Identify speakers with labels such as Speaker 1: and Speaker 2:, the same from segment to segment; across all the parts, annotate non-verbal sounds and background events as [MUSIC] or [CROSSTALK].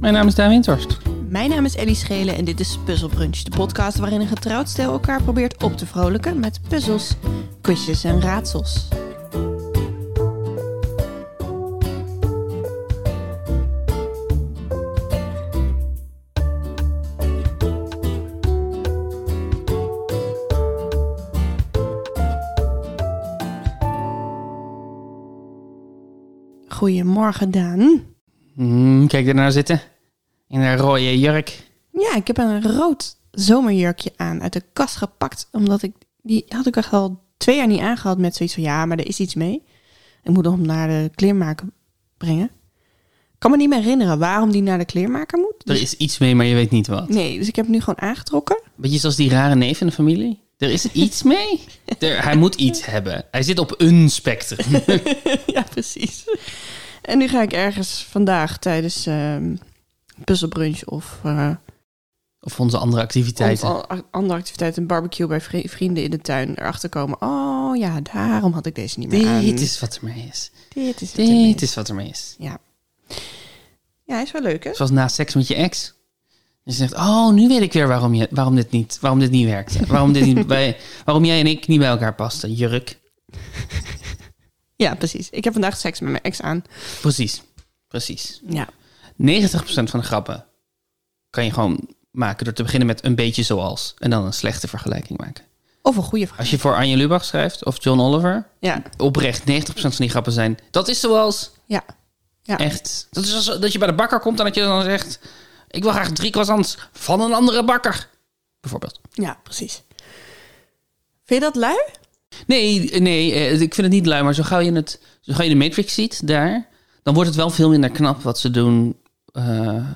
Speaker 1: Mijn naam is Daan Windhorst.
Speaker 2: Mijn naam is Ellie Schelen en dit is Puzzle Brunch, de podcast waarin een getrouwd stel elkaar probeert op te vrolijken met puzzels, quizjes en raadsels. Goedemorgen, Daan.
Speaker 1: Mm, kijk er nou zitten. In een rode jurk.
Speaker 2: Ja, ik heb een rood zomerjurkje aan uit de kast gepakt. Omdat ik die had ik echt al twee jaar niet aangehad met zoiets van ja, maar er is iets mee. Ik moet hem naar de kleermaker brengen. Ik kan me niet meer herinneren waarom die naar de kleermaker moet. Dus-
Speaker 1: Er is iets mee, maar je weet niet wat.
Speaker 2: Nee, dus ik heb hem nu gewoon
Speaker 1: [LAUGHS]
Speaker 2: aangetrokken.
Speaker 1: Beetje zoals die rare neef in de familie. Er is iets [LAUGHS] mee. Er- hij moet iets hebben. Hij zit op een spectrum.
Speaker 2: ja, precies. En nu ga ik ergens vandaag tijdens ehm puzzelbrunch of eh,
Speaker 1: Of onze andere activiteiten.
Speaker 2: Of al- andere activiteiten, een barbecue bij vri- vrienden in de tuin, erachter komen. Oh ja, daarom had ik deze niet meer aan.
Speaker 1: Dit is wat er mee is.
Speaker 2: Dit is het
Speaker 1: Dit
Speaker 2: ineens.
Speaker 1: is wat er mee is.
Speaker 2: Ja. Ja, is wel leuk, hè?
Speaker 1: Zoals na seks met je ex. Je zegt, oh, nu weet ik weer waarom, je, waarom, dit, niet, waarom dit niet werkt. Waarom, dit [LAUGHS] niet bij, waarom jij en ik niet bij elkaar pasten. Jurk.
Speaker 2: Ja, precies. Ik heb vandaag seks met mijn ex aan.
Speaker 1: Precies. Precies.
Speaker 2: Ja.
Speaker 1: 90% van de grappen kan je gewoon maken door te beginnen met een beetje zoals. En dan een slechte vergelijking maken.
Speaker 2: Of een goede vraag.
Speaker 1: Als je voor Anje Lubach schrijft of John Oliver,
Speaker 2: Ja,
Speaker 1: oprecht 90% van die grappen zijn. Dat is zoals.
Speaker 2: ja. Ja.
Speaker 1: Echt. Dat is als dat je bij de bakker komt en dat je dan zegt: Ik wil graag drie croissants van een andere bakker. Bijvoorbeeld.
Speaker 2: Ja, precies. Vind je dat lui?
Speaker 1: Nee, eh, nee, eh, ik vind het niet lui, maar zo gauw je, het, zo gauw je de Matrix ziet daar, dan wordt het wel veel minder knap wat ze doen. Eh,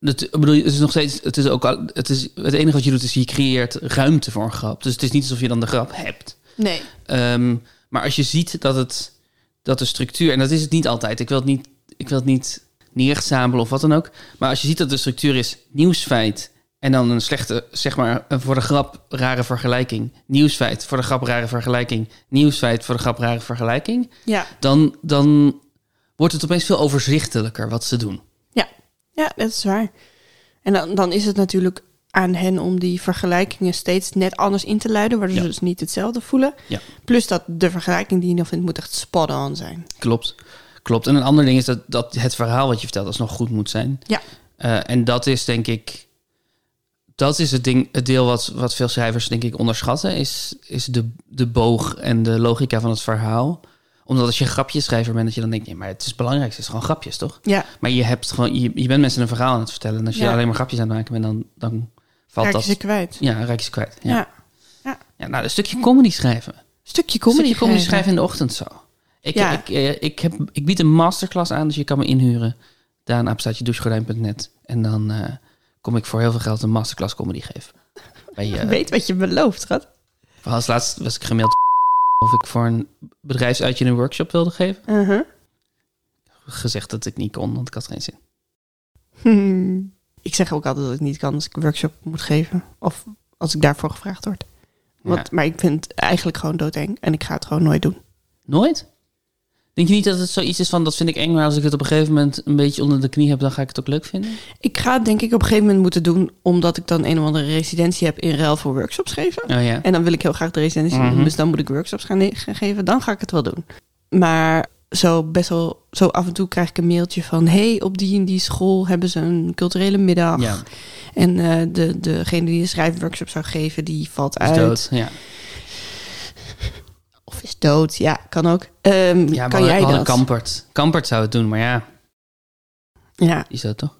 Speaker 1: het, ik bedoel, het is nog steeds, het is ook, al- het, is, het enige wat je doet is je creëert ruimte voor een grap. Dus het is niet alsof je dan de grap hebt.
Speaker 2: Nee.
Speaker 1: Ehm, maar als je ziet dat het, dat de structuur, en dat is het niet altijd, ik wil het niet, ik wil het niet neerzamelen of wat dan ook. Maar als je ziet dat de structuur is nieuwsfeit en dan een slechte, zeg maar, een voor de grap rare vergelijking. Nieuwsfeit voor de grap rare vergelijking. Nieuwsfeit voor de grap rare vergelijking.
Speaker 2: Ja.
Speaker 1: Dan, dan wordt het opeens veel overzichtelijker wat ze doen.
Speaker 2: Ja. Ja, dat is waar. En dan, dan is het natuurlijk aan hen om die vergelijkingen steeds net anders in te luiden, waardoor
Speaker 1: Ja.
Speaker 2: ze dus niet hetzelfde voelen.
Speaker 1: Ja.
Speaker 2: Plus dat de vergelijking die je nog vindt moet echt spot on zijn.
Speaker 1: Klopt. Klopt. En een ander ding is dat, dat het verhaal wat je vertelt alsnog goed moet zijn.
Speaker 2: Ja.
Speaker 1: Eh, en dat is denk ik. Dat is het, ding, het deel wat, wat veel schrijvers denk ik onderschatten. Is, is de, de boog en de logica van het verhaal. Omdat als je een grapjeschrijver bent, dat je dan denkt... Nee, maar het is het belangrijkste is gewoon grapjes, toch?
Speaker 2: Ja.
Speaker 1: Maar je, hebt gewoon, je, je bent mensen een verhaal aan het vertellen. En als je
Speaker 2: Ja.
Speaker 1: alleen maar grapjes aan het maken bent, dan, dan valt
Speaker 2: Kijk je
Speaker 1: dat...
Speaker 2: ze kwijt.
Speaker 1: Ja, raak je ze kwijt. Ja.
Speaker 2: Ja.
Speaker 1: Ja. nou, een stukje comedy schrijven.
Speaker 2: Stukje
Speaker 1: Een
Speaker 2: comedy.
Speaker 1: stukje comedy
Speaker 2: schrijven.
Speaker 1: schrijven in de ochtend zo. Ik,
Speaker 2: Ja.
Speaker 1: ik, eh, ik, heb, ik bied een masterclass aan, dus je kan me inhuren. Daan, apenstaartje, douchegordijn.net. En dan eh, kom ik voor heel veel geld een masterclass comedy geven. Bij, eh,
Speaker 2: Weet wat je belooft, schat.
Speaker 1: voor als laatst was ik gemaild [LAUGHS] of ik voor een bedrijfsuitje een workshop wilde geven.
Speaker 2: Uh-huh.
Speaker 1: Gezegd dat ik niet kon, want ik had geen zin.
Speaker 2: Hmm. [LAUGHS] Ik zeg ook altijd dat ik niet kan als ik een workshop moet geven. Of als ik daarvoor gevraagd word. Want,
Speaker 1: Ja.
Speaker 2: Maar ik vind het eigenlijk gewoon doodeng. En ik ga het gewoon nooit doen.
Speaker 1: Nooit? Denk je niet dat het zoiets is van, dat vind ik eng, maar als ik het op een gegeven moment een beetje onder de knie heb, dan ga ik het ook leuk vinden?
Speaker 2: Ik ga het denk ik op een gegeven moment moeten doen. Omdat ik dan een of andere residentie heb in ruil voor workshops geven.
Speaker 1: Oh ja.
Speaker 2: En dan wil ik heel graag de residentie
Speaker 1: Mhm.
Speaker 2: doen. Dus dan moet ik workshops gaan, ne- gaan geven. Dan ga ik het wel doen. Maar zo best wel... Zo af en toe krijg ik een mailtje van... hey, op die en die school hebben ze een culturele middag.
Speaker 1: Ja,
Speaker 2: En eh, de, degene die de schrijfworkshop zou geven, die valt
Speaker 1: is
Speaker 2: uit.
Speaker 1: dood. Ja.
Speaker 2: Of is dood, ja, kan ook. Ehm,
Speaker 1: ja,
Speaker 2: kan
Speaker 1: we
Speaker 2: jij
Speaker 1: hadden
Speaker 2: dat?
Speaker 1: Kampert. Kampert zou het doen, maar ja,
Speaker 2: Ja,
Speaker 1: Die is dood, toch?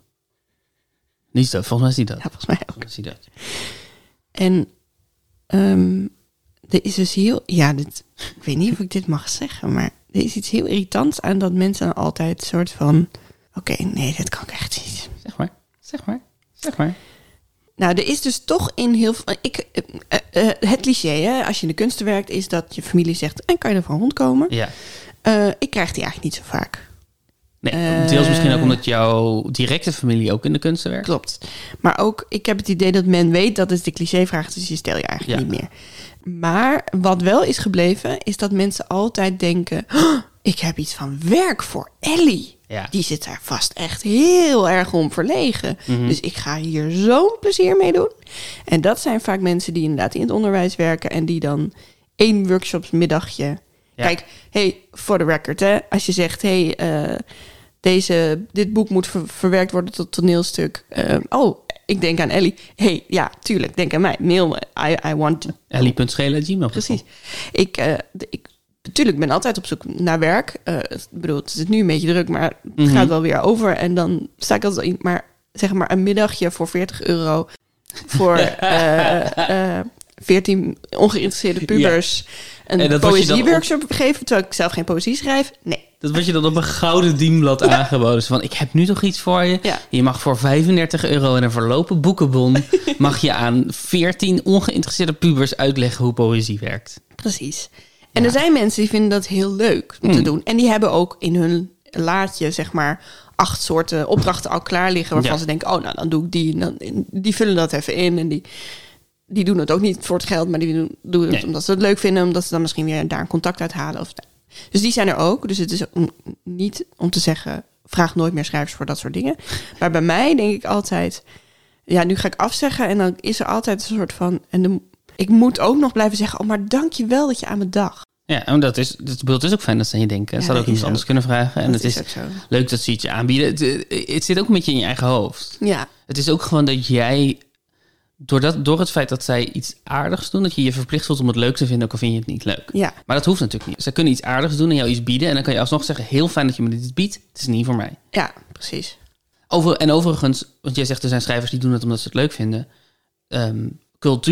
Speaker 1: Die is dood, volgens mij is die dood.
Speaker 2: ja, volgens mij ook.
Speaker 1: Volgens mij is die dood.
Speaker 2: En ehm, er is dus heel... Ja, dit, ik weet niet of ik dit mag zeggen, maar er is iets heel irritants aan dat mensen dan altijd soort van... Oké, nee, dat kan ik echt niet.
Speaker 1: Zeg maar, zeg maar, zeg maar.
Speaker 2: Nou, er is dus toch in heel veel... Ik, eh, eh, eh, het cliché, hè, als je in de kunsten werkt, is dat je familie zegt... En kan je er van rondkomen?
Speaker 1: Ja.
Speaker 2: Eh, ik krijg die eigenlijk niet zo vaak.
Speaker 1: Nee,
Speaker 2: Eh,
Speaker 1: deels misschien ook omdat jouw directe familie ook in de kunsten werkt.
Speaker 2: Klopt. Maar ook, ik heb het idee dat men weet dat is de clichévraag, dus die stel je eigenlijk
Speaker 1: Ja.
Speaker 2: niet meer. Maar wat wel is gebleven, is dat mensen altijd denken: "Oh, ik heb iets van werk voor Ellie.
Speaker 1: Ja.
Speaker 2: Die zit daar vast echt heel erg om verlegen.
Speaker 1: Mhm.
Speaker 2: Dus ik ga hier zo'n plezier mee doen. En dat zijn vaak mensen die inderdaad in het onderwijs werken en die dan één workshopsmiddagje.
Speaker 1: Ja.
Speaker 2: Kijk, hey, for the record, hè, als je zegt, hey, eh, deze, dit boek moet ver- verwerkt worden tot toneelstuk. Eh, oh, ik denk aan Ellie. hey, ja, tuurlijk, denk aan mij. Mail me. I, I want
Speaker 1: Ellie.schelen.gmail.
Speaker 2: Precies. Ik, eh, d- ik, natuurlijk ben altijd op zoek naar werk. Eh, het- ik bedoel, het is nu een beetje druk, maar het
Speaker 1: Mhm.
Speaker 2: gaat wel weer over. En dan sta ik altijd in, maar zeg maar een middagje voor 40 euro
Speaker 1: [LAUGHS]
Speaker 2: voor eh, eh, 14 ongeïnteresseerde pubers
Speaker 1: En
Speaker 2: een
Speaker 1: dat was je dan op-
Speaker 2: poëzieworkshop geven, terwijl ik zelf geen poëzie schrijf. Nee.
Speaker 1: Dat was je dan op een gouden dienblad aangeboden. Zo Van, ik heb nu toch iets voor je.
Speaker 2: Ja.
Speaker 1: Je mag voor 35 euro en een verlopen
Speaker 2: [LAUGHS]
Speaker 1: boekenbon... mag je aan 14 ongeïnteresseerde pubers uitleggen hoe poëzie werkt.
Speaker 2: Precies. En er zijn mensen die vinden dat heel leuk
Speaker 1: Hmm.
Speaker 2: om te doen. En die hebben ook in hun laadje, zeg maar, acht soorten opdrachten al klaar liggen. Waarvan
Speaker 1: Ja.
Speaker 2: ze denken, oh, nou, dan doe ik die. en Dan, die vullen dat even in. En die, die doen het ook niet voor het geld, maar die doen, doen het
Speaker 1: Nee.
Speaker 2: omdat ze het leuk vinden. Omdat ze dan misschien weer daar een contact uit halen. Of, dus die zijn er ook. Dus het is om- niet om te zeggen, vraag nooit meer schrijvers voor dat soort dingen. Maar bij mij denk ik altijd, ja, nu ga ik afzeggen. En dan is er altijd een soort van. En de, ik moet ook nog blijven zeggen: Oh, maar dank je wel dat je aan me dacht.
Speaker 1: Ja, en dat is, dat, ik bedoel, het is ook fijn dat ze aan je denken.
Speaker 2: Ja,
Speaker 1: ze hadden
Speaker 2: dat
Speaker 1: ook iets
Speaker 2: is
Speaker 1: anders
Speaker 2: ook.
Speaker 1: kunnen vragen. En
Speaker 2: Dat
Speaker 1: het
Speaker 2: is
Speaker 1: is,
Speaker 2: ook zo.
Speaker 1: leuk dat ze iets je aanbieden. Het, eh, het zit ook een beetje in je eigen hoofd.
Speaker 2: Ja,
Speaker 1: Het is ook gewoon dat jij... Door, dat, door het feit dat zij iets aardigs doen... dat je je verplicht voelt om het leuk te vinden... ook al vind je het niet leuk.
Speaker 2: ja,
Speaker 1: Maar dat hoeft natuurlijk niet. Ze kunnen iets aardigs doen en jou iets bieden. En dan kan je alsnog zeggen, heel fijn dat je me dit biedt. Het is niet voor mij.
Speaker 2: ja, precies.
Speaker 1: Over, en overigens, want jij zegt er zijn schrijvers die doen het omdat ze het leuk vinden. Ehm,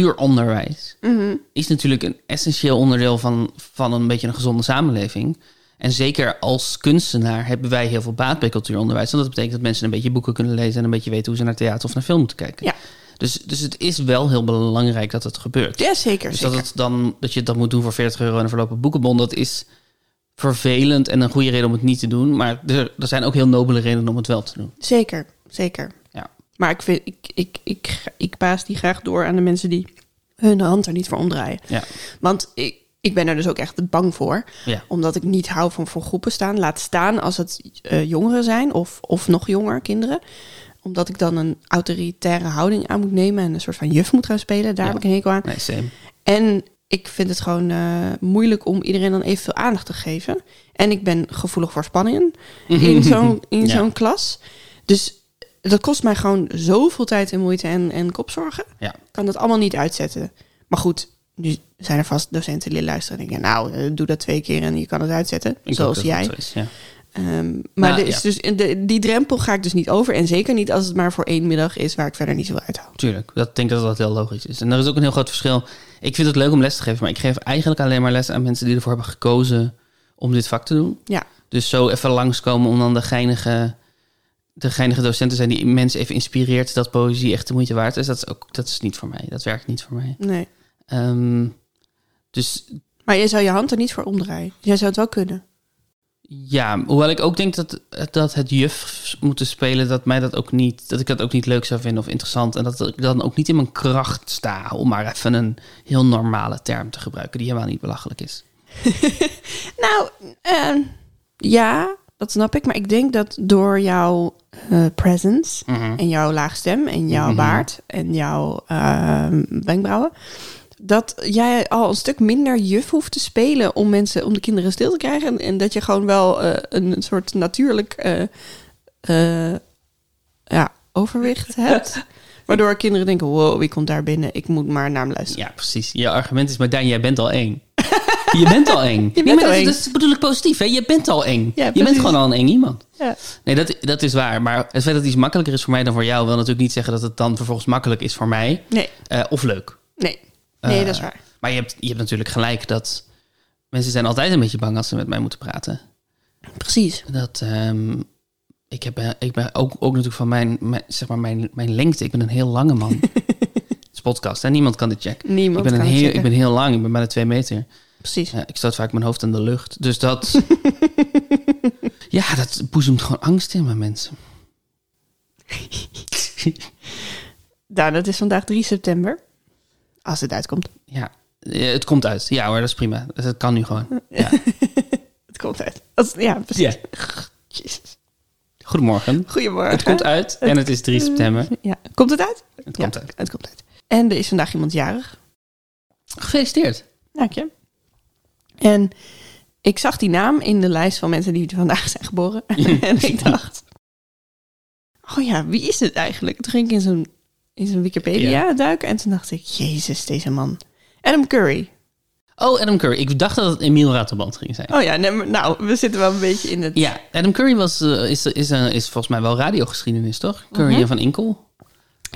Speaker 1: cultuuronderwijs
Speaker 2: Mhm.
Speaker 1: is natuurlijk een essentieel onderdeel van, van een beetje een gezonde samenleving. En zeker als kunstenaar hebben wij heel veel baat bij cultuuronderwijs. Want dat betekent dat mensen een beetje boeken kunnen lezen en een beetje weten hoe ze naar theater of naar film moeten kijken.
Speaker 2: Ja.
Speaker 1: Dus, dus het is wel heel belangrijk dat het gebeurt.
Speaker 2: Ja, zeker.
Speaker 1: Dus dat,
Speaker 2: zeker.
Speaker 1: het dan, dat je dat moet doen voor 40 euro en een verlopen boekenbon, dat is vervelend en een goede reden om het niet te doen. Maar er, er zijn ook heel nobele redenen om het wel te doen.
Speaker 2: Zeker, zeker.
Speaker 1: Ja.
Speaker 2: Maar ik, vind, ik, ik, ik, ik paas die graag door aan de mensen die hun hand er niet voor omdraaien.
Speaker 1: Ja.
Speaker 2: Want ik, ik ben er dus ook echt bang voor.
Speaker 1: Ja.
Speaker 2: Omdat ik niet hou van voor groepen staan. Laat staan als het eh, jongeren zijn of, of nog jonger kinderen. Omdat ik dan een autoritaire houding aan moet nemen en een soort van juf moet gaan spelen. Daar
Speaker 1: Ja.
Speaker 2: heb ik een hekel aan.
Speaker 1: Nee, same.
Speaker 2: En ik vind het gewoon eh, moeilijk om iedereen dan evenveel aandacht te geven. En ik ben gevoelig voor spanningen in
Speaker 1: [LAUGHS]
Speaker 2: zo'n in
Speaker 1: Mhm. Ja.
Speaker 2: zo'n klas. Dus dat kost mij gewoon zoveel tijd en moeite en, en kopzorgen.
Speaker 1: Ja.
Speaker 2: Ik kan dat allemaal niet uitzetten. Maar goed, nu zijn er vast docenten die luisteren en denken... nou, eh, doe dat twee keer en je kan het uitzetten,
Speaker 1: Ik hoop
Speaker 2: zoals
Speaker 1: dat dat
Speaker 2: jij.
Speaker 1: zo is, ja.
Speaker 2: Ehm, maar
Speaker 1: Nou,
Speaker 2: er is
Speaker 1: ja.
Speaker 2: dus, de, die drempel ga ik dus niet over. En zeker niet als het maar voor één middag is waar ik verder niet zoveel uithaal.
Speaker 1: Tuurlijk, dat ik denk dat dat heel logisch is. En er is ook een heel groot verschil. Ik vind het leuk om les te geven, maar ik geef eigenlijk alleen maar les aan mensen die ervoor hebben gekozen om dit vak te doen.
Speaker 2: Ja.
Speaker 1: Dus zo even langskomen om dan de geinige, de geinige docent te zijn die mensen even inspireert dat poëzie echt de moeite waard is. Dat is, ook, dat is niet voor mij. Dat werkt niet voor mij.
Speaker 2: Nee.
Speaker 1: Ehm, dus
Speaker 2: Maar jij zou je hand er niet voor omdraaien. Jij zou het wel kunnen.
Speaker 1: ja, hoewel ik ook denk dat, dat het juf moeten spelen, dat, mij dat, ook niet, dat ik dat ook niet leuk zou vinden of interessant. En dat ik dan ook niet in mijn kracht sta, om maar even een heel normale term te gebruiken, die helemaal niet belachelijk is.
Speaker 2: Nou, ehm, ja, dat snap ik. Maar ik denk dat door jouw eh, presence en jouw laag stem en jouw baard en jouw ehm, wenkbrauwen... dat jij al een stuk minder juf hoeft te spelen om, mensen, om de kinderen stil te krijgen. En, en dat je gewoon wel eh, een soort natuurlijk eh, eh, ja, overwicht hebt. Waardoor kinderen denken, wow, wie komt daar binnen? Ik moet maar naar hem luisteren.
Speaker 1: Ja, precies. Je argument is, maar Daan, jij bent al
Speaker 2: [LAUGHS]
Speaker 1: eng. Je bent al eng.
Speaker 2: bent
Speaker 1: nee, maar
Speaker 2: al
Speaker 1: dat,
Speaker 2: eng.
Speaker 1: dat is bedoel ik positief, hè? Je bent al eng.
Speaker 2: Ja,
Speaker 1: je bent
Speaker 2: precies.
Speaker 1: gewoon al een eng iemand.
Speaker 2: Ja.
Speaker 1: Nee, dat, dat is waar. Maar het feit dat iets makkelijker is voor mij dan voor jou... wil natuurlijk niet zeggen dat het dan vervolgens makkelijk is voor mij.
Speaker 2: Nee,
Speaker 1: eh, of leuk.
Speaker 2: nee. Nee,
Speaker 1: Eh,
Speaker 2: dat is waar.
Speaker 1: Maar je hebt, je hebt natuurlijk gelijk dat... Mensen zijn altijd een beetje bang als ze met mij moeten praten.
Speaker 2: Precies.
Speaker 1: Dat, ehm, ik, heb, eh, ik ben ook, ook natuurlijk van mijn, mijn, zeg maar mijn, mijn lengte. Ik ben een heel lange
Speaker 2: [LAUGHS]
Speaker 1: man. Het is podcast, hè? Niemand kan dit checken. Ik
Speaker 2: Niemand
Speaker 1: ben, een
Speaker 2: kan het
Speaker 1: heel,
Speaker 2: zeggen.
Speaker 1: ik ben heel lang. Ik ben bijna twee meter.
Speaker 2: Precies.
Speaker 1: Ja, ik stoot vaak mijn hoofd in de lucht. Dus dat... ja, dat boezemt gewoon angst in bij mensen.
Speaker 2: [LAUGHS] Nou, dat is vandaag 3 september. Als het uitkomt.
Speaker 1: ja, eh, het komt uit. Ja hoor, dat is prima. Dat dat kan nu gewoon. Ja.
Speaker 2: Het komt uit. Als, [LAUGHS] ja, precies.
Speaker 1: Ja.
Speaker 2: Jezus.
Speaker 1: Goedemorgen.
Speaker 2: Goedemorgen.
Speaker 1: Het komt uit en het is 3 september.
Speaker 2: Ja. Komt het uit?
Speaker 1: Het
Speaker 2: Ja.
Speaker 1: komt uit.
Speaker 2: Het komt uit. En er is vandaag iemand jarig.
Speaker 1: Gefeliciteerd.
Speaker 2: Dank je. En ik zag die naam in de lijst van mensen die vandaag zijn geboren.
Speaker 1: [LAUGHS]
Speaker 2: [LAUGHS] en ik dacht... Oh ja, wie is het eigenlijk? Toen ging ik in zo'n in zo'n Wikipedia duiken. En toen dacht ik, jezus, deze man. Adam Curry.
Speaker 1: Oh, Adam Curry. Ik dacht dat het Emiel Raterband ging zijn.
Speaker 2: Oh ja, nee, maar- nou, we zitten wel een beetje in het...
Speaker 1: Ja, Adam Curry was, eh, is, is, eh, is volgens mij wel radiogeschiedenis, toch?
Speaker 2: Mhm.
Speaker 1: Curry en Van Inkel.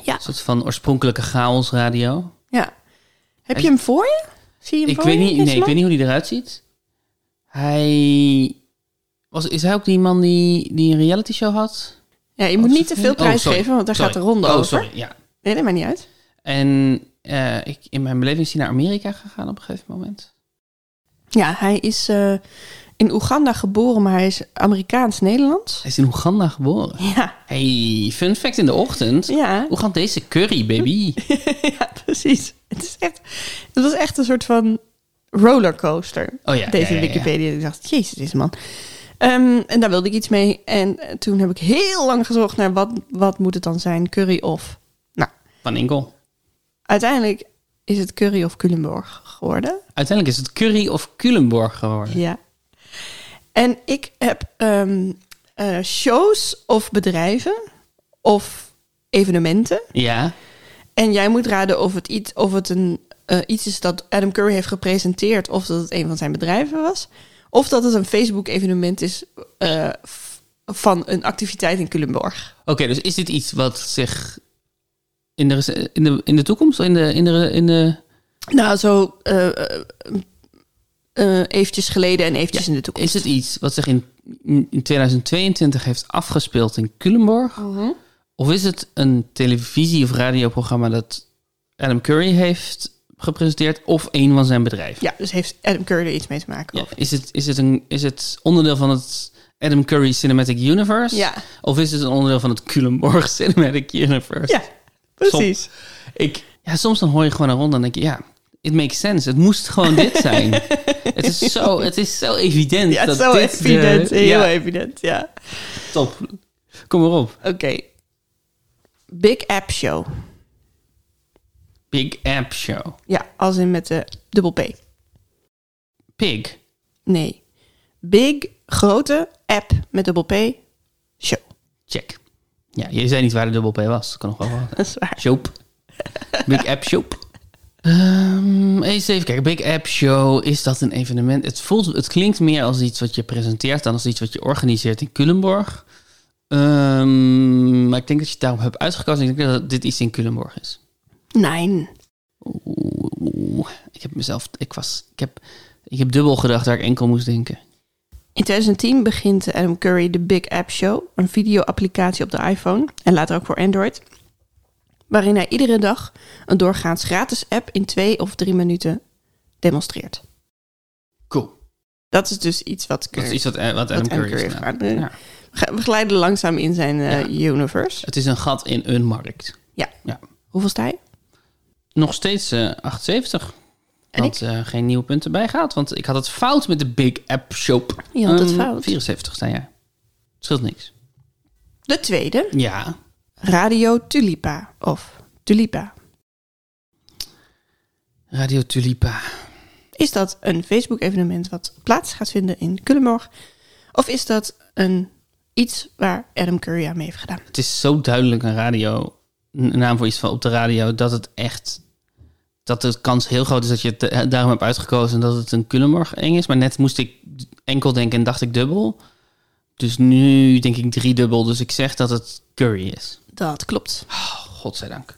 Speaker 2: Ja.
Speaker 1: Een soort van oorspronkelijke chaosradio.
Speaker 2: Ja. Heb je hem voor je? Zie je hem
Speaker 1: Ik
Speaker 2: voor
Speaker 1: weet,
Speaker 2: je,
Speaker 1: niet,
Speaker 2: deze
Speaker 1: nee, ik
Speaker 2: man?
Speaker 1: weet niet hoe die eruit ziet. Hij... Was, is hij ook die man die, die een reality show had?
Speaker 2: Ja, je moet
Speaker 1: Of-
Speaker 2: niet te veel
Speaker 1: Oh,
Speaker 2: prijs
Speaker 1: sorry.
Speaker 2: geven, want daar
Speaker 1: Sorry.
Speaker 2: gaat de ronde
Speaker 1: oh,
Speaker 2: over.
Speaker 1: sorry, ja.
Speaker 2: Nee, dat maakt niet uit.
Speaker 1: En eh, ik, in mijn beleving is hij naar Amerika gegaan op een gegeven moment.
Speaker 2: Ja, hij is eh, in Oeganda geboren, maar hij is Amerikaans-Nederlands.
Speaker 1: Hij is in Oeganda geboren.
Speaker 2: Ja,
Speaker 1: Hey, fun fact in de ochtend. [LAUGHS]
Speaker 2: ja.
Speaker 1: Oegandese curry, baby.
Speaker 2: ja, precies. Het, is echt, het was echt een soort van rollercoaster,
Speaker 1: Oh ja, ja,
Speaker 2: deze
Speaker 1: ja, ja.
Speaker 2: Wikipedia. Ik dacht, jezus, deze man. Ehm, en daar wilde ik iets mee. En eh, toen heb ik heel lang gezocht naar wat, wat moet het dan zijn, curry of... Nou,
Speaker 1: Van Inkel.
Speaker 2: uiteindelijk is het curry of Culemborg geworden.
Speaker 1: Uiteindelijk is het curry of Culemborg geworden.
Speaker 2: Ja. En ik heb ehm, eh, shows of bedrijven of evenementen.
Speaker 1: Ja.
Speaker 2: En jij moet raden of het iets, of het een, eh, iets is dat Adam Curry heeft gepresenteerd, of dat het een van zijn bedrijven was. Of dat het een Facebook-evenement is eh, f- van een activiteit in Culemborg.
Speaker 1: Oké, dus is dit iets wat zich in de, rece- in de, in de toekomst, in de, in de, in de,
Speaker 2: Nou, zo eh, eh, eh, eventjes geleden en eventjes in de toekomst.
Speaker 1: is het iets wat zich in, in 2022 heeft afgespeeld in Culemborg?
Speaker 2: Mhm.
Speaker 1: Of is het een televisie- of radioprogramma dat Adam Curry heeft gepresenteerd of een van zijn bedrijven?
Speaker 2: Ja, dus heeft Adam Curry er iets mee te maken?
Speaker 1: Ja,
Speaker 2: of-
Speaker 1: Is, het, is, het een, is het onderdeel van het Adam Curry Cinematic Universe?
Speaker 2: Ja.
Speaker 1: Of is het een onderdeel van het Culemborg [LAUGHS] Cinematic Universe?
Speaker 2: ja precies.
Speaker 1: Ik, ja, soms dan hoor je gewoon een ronde en denk je, ja, it makes sense. Het moest gewoon dit
Speaker 2: [LAUGHS]
Speaker 1: zijn. het, is zo, het is zo evident.
Speaker 2: Ja,
Speaker 1: dat
Speaker 2: zo
Speaker 1: dit de-
Speaker 2: evident. heel
Speaker 1: ja,
Speaker 2: evident, ja.
Speaker 1: top. Kom maar op.
Speaker 2: Oké. Big App Show.
Speaker 1: Big App Show.
Speaker 2: Ja, als in met de dubbel P.
Speaker 1: Pig.
Speaker 2: Nee. Big, grote, app met dubbel P, show.
Speaker 1: Check. Ja, je zei niet waar de dubbel P was. Kan nog wel wat.
Speaker 2: Dat is waar.
Speaker 1: Shop. Big App Shop. Ehm eens even kijken. Big App Show, is dat een evenement? Het, voelt, het klinkt meer als iets wat je presenteert dan als iets wat je organiseert in Culemborg. Ehm, maar ik denk dat je het daarop hebt uitgekozen. Ik denk dat dit iets in Culemborg is.
Speaker 2: Nein.
Speaker 1: Oeh, oeh. ik heb mezelf. Ik, was, ik, heb, ik heb dubbel gedacht waar ik enkel moest denken.
Speaker 2: In 2010 begint Adam Curry de Big App Show, een video-applicatie op de iPhone en later ook voor Android, waarin hij iedere dag een doorgaans gratis app in twee of drie minuten demonstreert.
Speaker 1: Cool.
Speaker 2: Dat is dus iets wat
Speaker 1: Dat is
Speaker 2: Curry
Speaker 1: iets wat, eh, wat Adam
Speaker 2: Wat Adam
Speaker 1: Curry heeft
Speaker 2: Curry
Speaker 1: gedaan.
Speaker 2: heeft gedaan.
Speaker 1: Ja.
Speaker 2: Ge- We glijden langzaam in zijn eh, universe.
Speaker 1: Het is een gat in een markt.
Speaker 2: Hoeveel sta je?
Speaker 1: Nog steeds eh 78.
Speaker 2: En
Speaker 1: Want eh, geen nieuwe punten bij gaat. Want ik had het fout met de Big App Shop.
Speaker 2: Je had het
Speaker 1: Ehm,
Speaker 2: fout.
Speaker 1: 74 sta jij. Scheelt niks.
Speaker 2: De tweede,
Speaker 1: Ja.
Speaker 2: Radio Tulipa of Tulipa.
Speaker 1: Radio Tulipa.
Speaker 2: Is dat een Facebook-evenement wat plaats gaat vinden in Culemborg? Of is dat een, iets waar Adam Curry aan mee heeft gedaan?
Speaker 1: Het is zo duidelijk een radio. Een naam voor iets van op de radio. Dat het echt. Dat de kans heel groot is dat je het eh, daarom hebt uitgekozen. En dat het een Culemborg eng is. Maar net moest ik enkel denken en dacht ik dubbel. Dus nu denk ik driedubbel. Dus ik zeg dat het curry is.
Speaker 2: Dat klopt.
Speaker 1: Oh, godzijdank.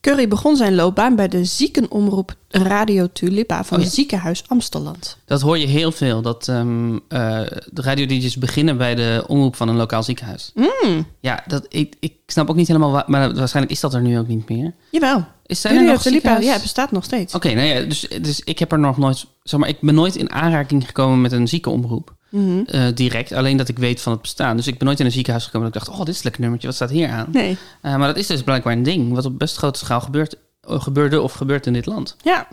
Speaker 2: Curry begon zijn loopbaan bij de ziekenomroep Radio Tulipa van
Speaker 1: Oh ja.
Speaker 2: het ziekenhuis Amsteland.
Speaker 1: Dat hoor je heel veel. Dat ehm eh, de radiodj's beginnen bij de omroep van een lokaal ziekenhuis.
Speaker 2: Mm.
Speaker 1: Ja, dat, ik, ik snap ook niet helemaal waar, maar waarschijnlijk is dat er nu ook niet meer.
Speaker 2: Jawel.
Speaker 1: Is zijn er
Speaker 2: Radio
Speaker 1: nog
Speaker 2: Tulipa ja,
Speaker 1: ziekenhuizen?
Speaker 2: het bestaat nog steeds.
Speaker 1: Oké, nou ja, dus, dus ik heb er nog nooit, zeg maar, ik ben nooit in aanraking gekomen met een ziekenomroep.
Speaker 2: Mhm.
Speaker 1: Eh, direct, alleen dat ik weet van het bestaan. Dus ik ben nooit in een ziekenhuis gekomen dat ik dacht, oh, dit is een lekker nummertje, wat staat hier aan?
Speaker 2: Nee.
Speaker 1: Eh, maar dat is dus blijkbaar een ding, wat op best grote schaal gebeurt, eh, gebeurde of gebeurt in dit land.
Speaker 2: Ja,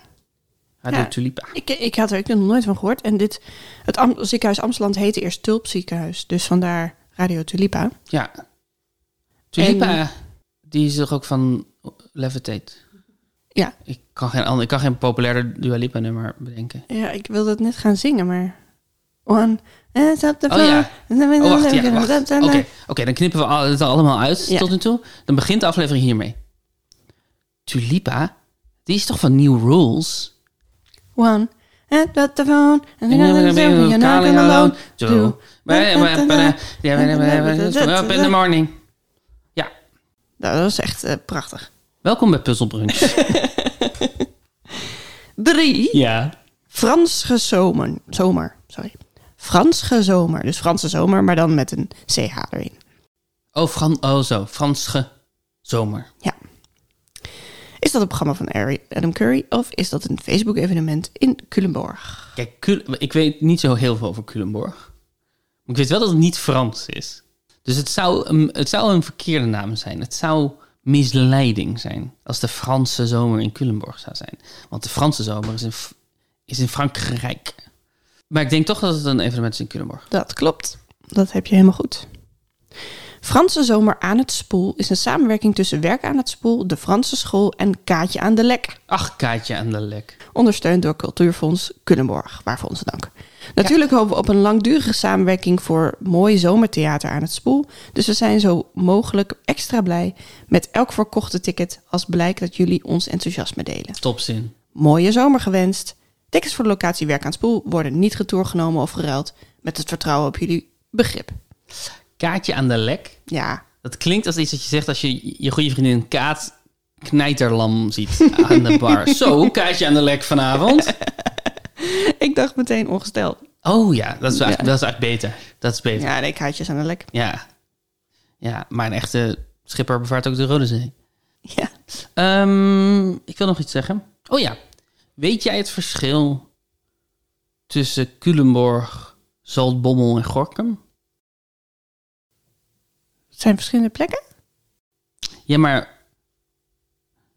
Speaker 1: Radio
Speaker 2: Ja.
Speaker 1: Tulipa.
Speaker 2: Ik, ik had er ook nog nooit van gehoord. En dit, het Am- ziekenhuis Amsterdam heette eerst Tulpziekenhuis. Dus vandaar Radio Tulipa.
Speaker 1: Ja. Tulipa, die is toch ook van Levitate?
Speaker 2: Ja.
Speaker 1: Ik kan geen, ander- ik kan geen populairder Dua Lipa nummer bedenken.
Speaker 2: Ja, ik wilde het net gaan zingen, maar... One is up the
Speaker 1: Oh, ja.
Speaker 2: floor.
Speaker 1: Oh, wacht, ja, wacht. Oké, oké, dan knippen we al- het allemaal uit
Speaker 2: Ja.
Speaker 1: tot nu toe. Dan begint de aflevering hiermee. Tulipa, die is toch van New Rules?
Speaker 2: One is up the phone. And you're not
Speaker 1: Calling
Speaker 2: alone.
Speaker 1: alone. Zo. Up in the morning.
Speaker 2: Nou, dat was echt eh, prachtig.
Speaker 1: Welkom bij Puzzle
Speaker 2: [LAUGHS]
Speaker 1: Brunch.
Speaker 2: Drie.
Speaker 1: Ja.
Speaker 2: Frans gezomer. Zomer, sorry. Frans gezomer. Dus Franse zomer, maar dan met een CH erin.
Speaker 1: Oh, Fran oh zo. Franse zomer.
Speaker 2: Is dat een programma van Ari- Adam Curry of is dat een Facebook-evenement in Culemborg?
Speaker 1: Kijk, Cul- ik weet niet zo heel veel over Culemborg. Maar ik weet wel dat het niet Frans is. Dus het zou, een, het zou een verkeerde naam zijn. Het zou misleiding zijn als de Franse zomer in Culemborg zou zijn. Want de Franse zomer is in, F- is in Frankrijk. Maar ik denk toch dat het een evenement is in Culemborg.
Speaker 2: Dat klopt. Dat heb je helemaal goed. Franse Zomer aan het Spoel is een samenwerking tussen Werk aan het Spoel, de Franse School en Kaatje aan de Lek.
Speaker 1: Ach, Kaatje aan de lek.
Speaker 2: Ondersteund door Cultuurfonds Culemborg. Waarvoor onze dank. Natuurlijk hopen we op een langdurige samenwerking voor mooi zomertheater aan het spoel. Dus we zijn zo mogelijk extra blij met elk verkochte ticket als blijkt dat jullie ons enthousiasme delen.
Speaker 1: Topzin.
Speaker 2: Mooie zomer gewenst. Tickets voor de locatie Werk aan het Spoel worden niet retourgenomen of geruild. Met het vertrouwen op jullie begrip.
Speaker 1: Kaatje aan de lek.
Speaker 2: Ja,
Speaker 1: Dat klinkt als iets dat je zegt als je je goede vriendin Kaat knijterlam ziet aan de bar. Zo, Kaatje aan de lek vanavond.
Speaker 2: ik dacht meteen ongesteld.
Speaker 1: Oh ja, dat is, eigenlijk- dat is eigenlijk beter. Dat is beter. Ja.
Speaker 2: Ja, nee, kaartjes aan de lek.
Speaker 1: ja. maar een echte schipper bevaart ook de Rode Zee.
Speaker 2: Ja.
Speaker 1: Ehm, ik wil nog iets zeggen. Oh ja. Weet jij het verschil tussen Culemborg, Zaltbommel en Gorkum?
Speaker 2: Het zijn verschillende plekken.
Speaker 1: Ja, maar...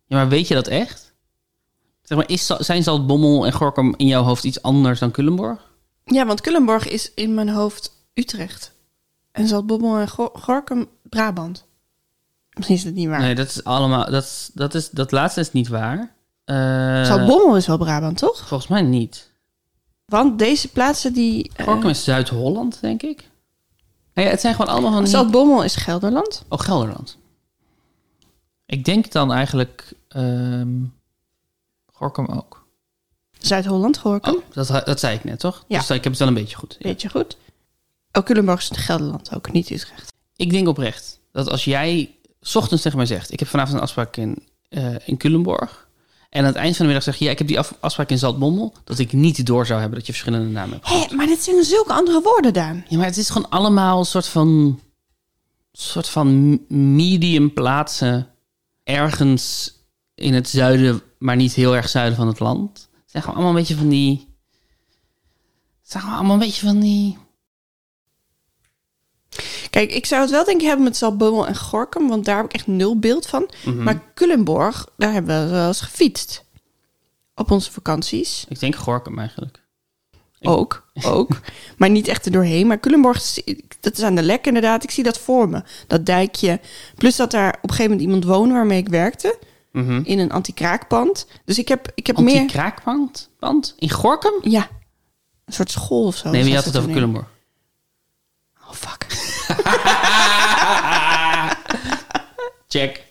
Speaker 1: Ja, maar weet je dat echt? Zeg maar, is, Zal- zijn Zaltbommel en Gorkum in jouw hoofd iets anders dan Culemborg?
Speaker 2: Ja, want Culemborg is in mijn hoofd Utrecht. En Zaltbommel en Go- Gorkum Brabant. Misschien is dat niet waar.
Speaker 1: Nee, dat is allemaal... Dat, is- dat, is, dat laatste is niet waar. Eh,
Speaker 2: Zaltbommel is wel Brabant, toch?
Speaker 1: Volgens mij niet.
Speaker 2: Want deze plaatsen die... eh,
Speaker 1: Gorkum is Zuid-Holland, denk ik. Nou ja, het zijn gewoon allemaal van... die-
Speaker 2: Zaltbommel is Gelderland.
Speaker 1: Oh, Gelderland. Ik denk dan eigenlijk ehm, Gorkum ook.
Speaker 2: Zuid-Holland, Gorkum.
Speaker 1: Oh, dat, dat zei ik net, toch?
Speaker 2: Ja.
Speaker 1: Dus ik heb het wel een beetje goed. Ja.
Speaker 2: Weet je goed. Oh, Culemborg is Gelderland ook, niet Utrecht.
Speaker 1: Ik denk oprecht dat als jij 's ochtends tegen mij zegt... ik heb vanavond een afspraak in, eh in Culemborg... en aan het eind van de middag zeg je... ja, ik heb die af- afspraak in Zaltbommel... dat ik niet door zou hebben dat je verschillende namen hebt.
Speaker 2: Hé, maar dit zijn zulke andere woorden, Daan.
Speaker 1: Ja, maar het is gewoon allemaal een soort van... soort van medium plaatsen... ergens in het zuiden, maar niet heel erg zuiden van het land. Het zijn gewoon allemaal een beetje van die... Het zijn gewoon allemaal een beetje van die...
Speaker 2: Kijk, ik zou het wel denk ik hebben met Zaltbommel en Gorkum, want daar heb ik echt nul beeld van.
Speaker 1: Mhm.
Speaker 2: Maar Culemborg, daar hebben we wel eens gefietst. Op onze vakanties.
Speaker 1: Ik denk Gorkum eigenlijk.
Speaker 2: Ook,
Speaker 1: [LAUGHS]
Speaker 2: ook. maar niet echt er doorheen. Maar Culemborg, dat is aan de lek inderdaad. Ik zie dat voor me. Dat dijkje. Plus dat daar op een gegeven moment iemand woonde waarmee ik werkte.
Speaker 1: Mhm.
Speaker 2: In een anti-kraakpand. Dus ik heb, ik heb meer... Oh,
Speaker 1: Anti-kraakband? Band? In Gorkum?
Speaker 2: Ja. Een soort school of zo.
Speaker 1: Nee, maar je
Speaker 2: Zoals
Speaker 1: had het
Speaker 2: dat
Speaker 1: over
Speaker 2: toen heet.
Speaker 1: Culemborg.
Speaker 2: Oh, fuck.
Speaker 1: Check.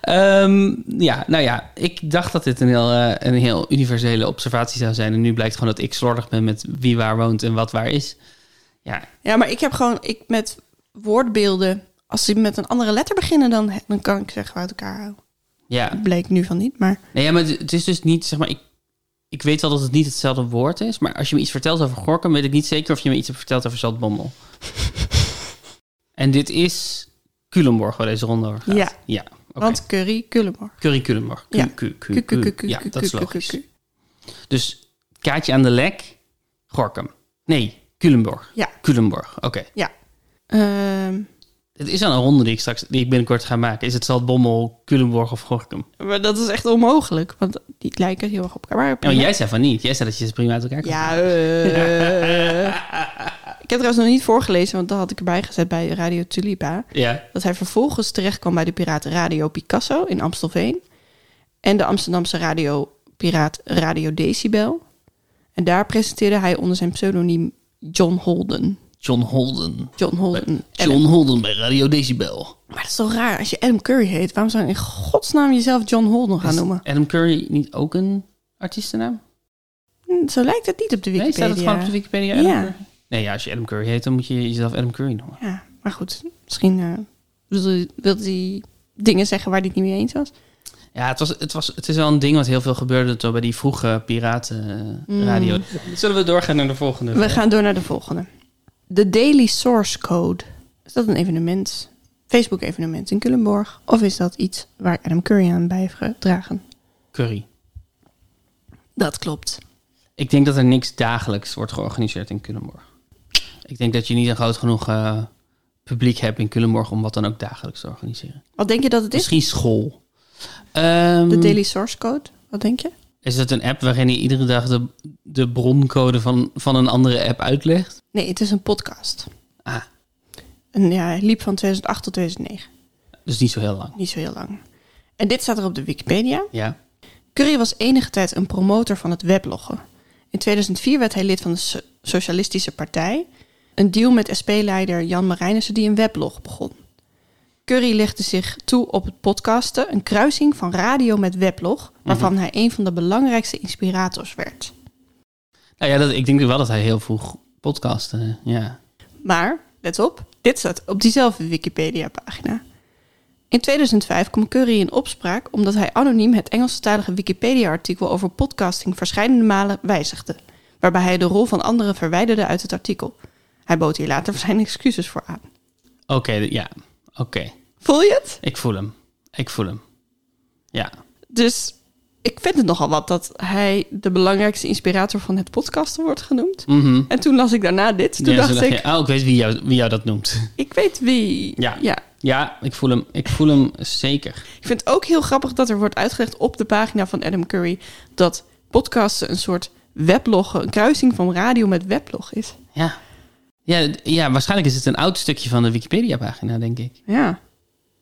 Speaker 1: Ehm, ja, nou ja, ik dacht dat dit een heel, eh, een heel universele observatie zou zijn. En nu blijkt gewoon dat ik slordig ben met wie waar woont en wat waar is. Ja,
Speaker 2: Ja, maar ik heb gewoon... Ik met woordbeelden... Als ze met een andere letter beginnen, dan, dan kan ik zeggen uit elkaar houden.
Speaker 1: ja.
Speaker 2: Bleek nu van niet, maar...
Speaker 1: Nee, ja maar het het is dus niet, zeg maar, ik, ik weet wel dat het niet hetzelfde woord is. Maar als je me iets vertelt over Gorkum, weet ik niet zeker of je me iets hebt verteld over
Speaker 2: [LAUGHS]
Speaker 1: Zaltbommel. en dit is Culemborg, waar deze ronde over gaat.
Speaker 2: Ja.
Speaker 1: Ja, oké.
Speaker 2: Want curry, Culemborg.
Speaker 1: Curry Culemborg. Q,
Speaker 2: Ja.
Speaker 1: Q, Q,
Speaker 2: Ku- ku- ku-
Speaker 1: Q.
Speaker 2: ku-
Speaker 1: Ja,
Speaker 2: ku-
Speaker 1: dat is
Speaker 2: ku- ku-
Speaker 1: logisch.
Speaker 2: ku-
Speaker 1: Dus kaartje aan de lek, Gorkum. Nee, Culemborg.
Speaker 2: Ja.
Speaker 1: Culemborg, oké.
Speaker 2: Ja. Ehm,
Speaker 1: Het is al een ronde die ik straks, die ik binnenkort ga maken. Is het Zaltbommel, Culemborg of Gorkum?
Speaker 2: maar dat is echt onmogelijk, want die lijken heel erg
Speaker 1: Oh,
Speaker 2: op elkaar. Maar
Speaker 1: [LAUGHS] Ja, maar jij zei van niet. Jij zei dat je ze prima uit elkaar kan.
Speaker 2: Ja, eh, Ik heb trouwens nog niet voorgelezen, want dat had ik erbij gezet bij Radio Tulipa.
Speaker 1: Ja.
Speaker 2: Dat hij vervolgens terecht kwam bij de Piraten Radio Picasso in Amstelveen. En de Amsterdamse radio Piraat Radio Decibel. En daar presenteerde hij onder zijn pseudoniem John Holden.
Speaker 1: John Holden.
Speaker 2: John Holden.
Speaker 1: Eh, John Holden bij Radio Decibel.
Speaker 2: Maar dat is toch raar als je Adam Curry heet. Waarom zou je in godsnaam jezelf John Holden gaan
Speaker 1: Is
Speaker 2: noemen?
Speaker 1: Adam Curry niet ook een artiestennaam?
Speaker 2: Hm, Zo lijkt het niet op de
Speaker 1: Nee,
Speaker 2: Wikipedia.
Speaker 1: staat het gewoon op de Wikipedia? Adam
Speaker 2: Ja.
Speaker 1: Curry? Nee, ja, als je Adam Curry heet, dan moet je jezelf Adam Curry noemen.
Speaker 2: Ja, maar goed. Misschien eh, wilde- wilde hij dingen zeggen waar hij het niet mee eens was.
Speaker 1: Ja, het, was, het, was, het is wel een ding wat heel veel gebeurde toen bij die vroege
Speaker 2: Mm.
Speaker 1: piratenradio. Zullen we doorgaan naar de volgende?
Speaker 2: We gaan door naar de volgende. De Daily Source Code. Is dat een evenement? Facebook-evenement in Culemborg? Of is dat iets waar Adam Curry aan bij heeft gedragen?
Speaker 1: Curry.
Speaker 2: Dat klopt.
Speaker 1: Ik denk dat er niks dagelijks wordt georganiseerd in Culemborg. Ik denk dat je niet een groot genoeg eh, publiek hebt in Culemborg om wat dan ook dagelijks te organiseren.
Speaker 2: Wat denk je dat het is?
Speaker 1: Misschien school. Ehm,
Speaker 2: De Daily Source Code? Wat denk je?
Speaker 1: Is het een app waarin je iedere dag de, de broncode van, van een andere app uitlegt?
Speaker 2: Nee, het is een podcast.
Speaker 1: Ah,
Speaker 2: En ja, hij liep van 2008 tot 2009.
Speaker 1: dus niet zo heel lang.
Speaker 2: Niet zo heel lang. En dit staat er op de Wikipedia.
Speaker 1: Ja.
Speaker 2: Curry was enige tijd een promotor van het webloggen. In 2004 werd hij lid van de So- Socialistische Partij. Een deal met SP-leider Jan Marijnissen die een weblog begon. Curry legde zich toe op het podcasten, een kruising van radio met weblog, waarvan hij een van de belangrijkste inspirators werd.
Speaker 1: Nou ja, dat, ik denk wel dat hij heel vroeg podcastte. Ja.
Speaker 2: Maar, let op, dit staat op diezelfde Wikipedia-pagina. In 2005 kwam Curry in opspraak omdat hij anoniem het Engelstalige Wikipedia-artikel over podcasting verschillende malen wijzigde, waarbij hij de rol van anderen verwijderde uit het artikel. Hij bood hier later zijn excuses voor aan.
Speaker 1: Oké, ja. Oké.
Speaker 2: Voel je het?
Speaker 1: Ik voel hem. Ik voel hem. Ja.
Speaker 2: Dus ik vind het nogal wat dat hij de belangrijkste inspirator van het podcasten wordt genoemd.
Speaker 1: Mhm.
Speaker 2: En toen las ik daarna dit. Toen
Speaker 1: Ja, zo
Speaker 2: dacht
Speaker 1: dacht
Speaker 2: ik,
Speaker 1: je, oh, ik weet wie jou, wie jou dat noemt. [LAUGHS]
Speaker 2: ik weet wie.
Speaker 1: Ja.
Speaker 2: ja,
Speaker 1: Ja, ik voel hem. Ik voel hem zeker.
Speaker 2: Ik vind het ook heel grappig dat er wordt uitgelegd op de pagina van Adam Curry dat podcasten een soort webloggen, een kruising van radio met weblog is.
Speaker 1: Ja. Ja, d- ja, waarschijnlijk is het een oud stukje van de Wikipedia-pagina, denk ik.
Speaker 2: Ja.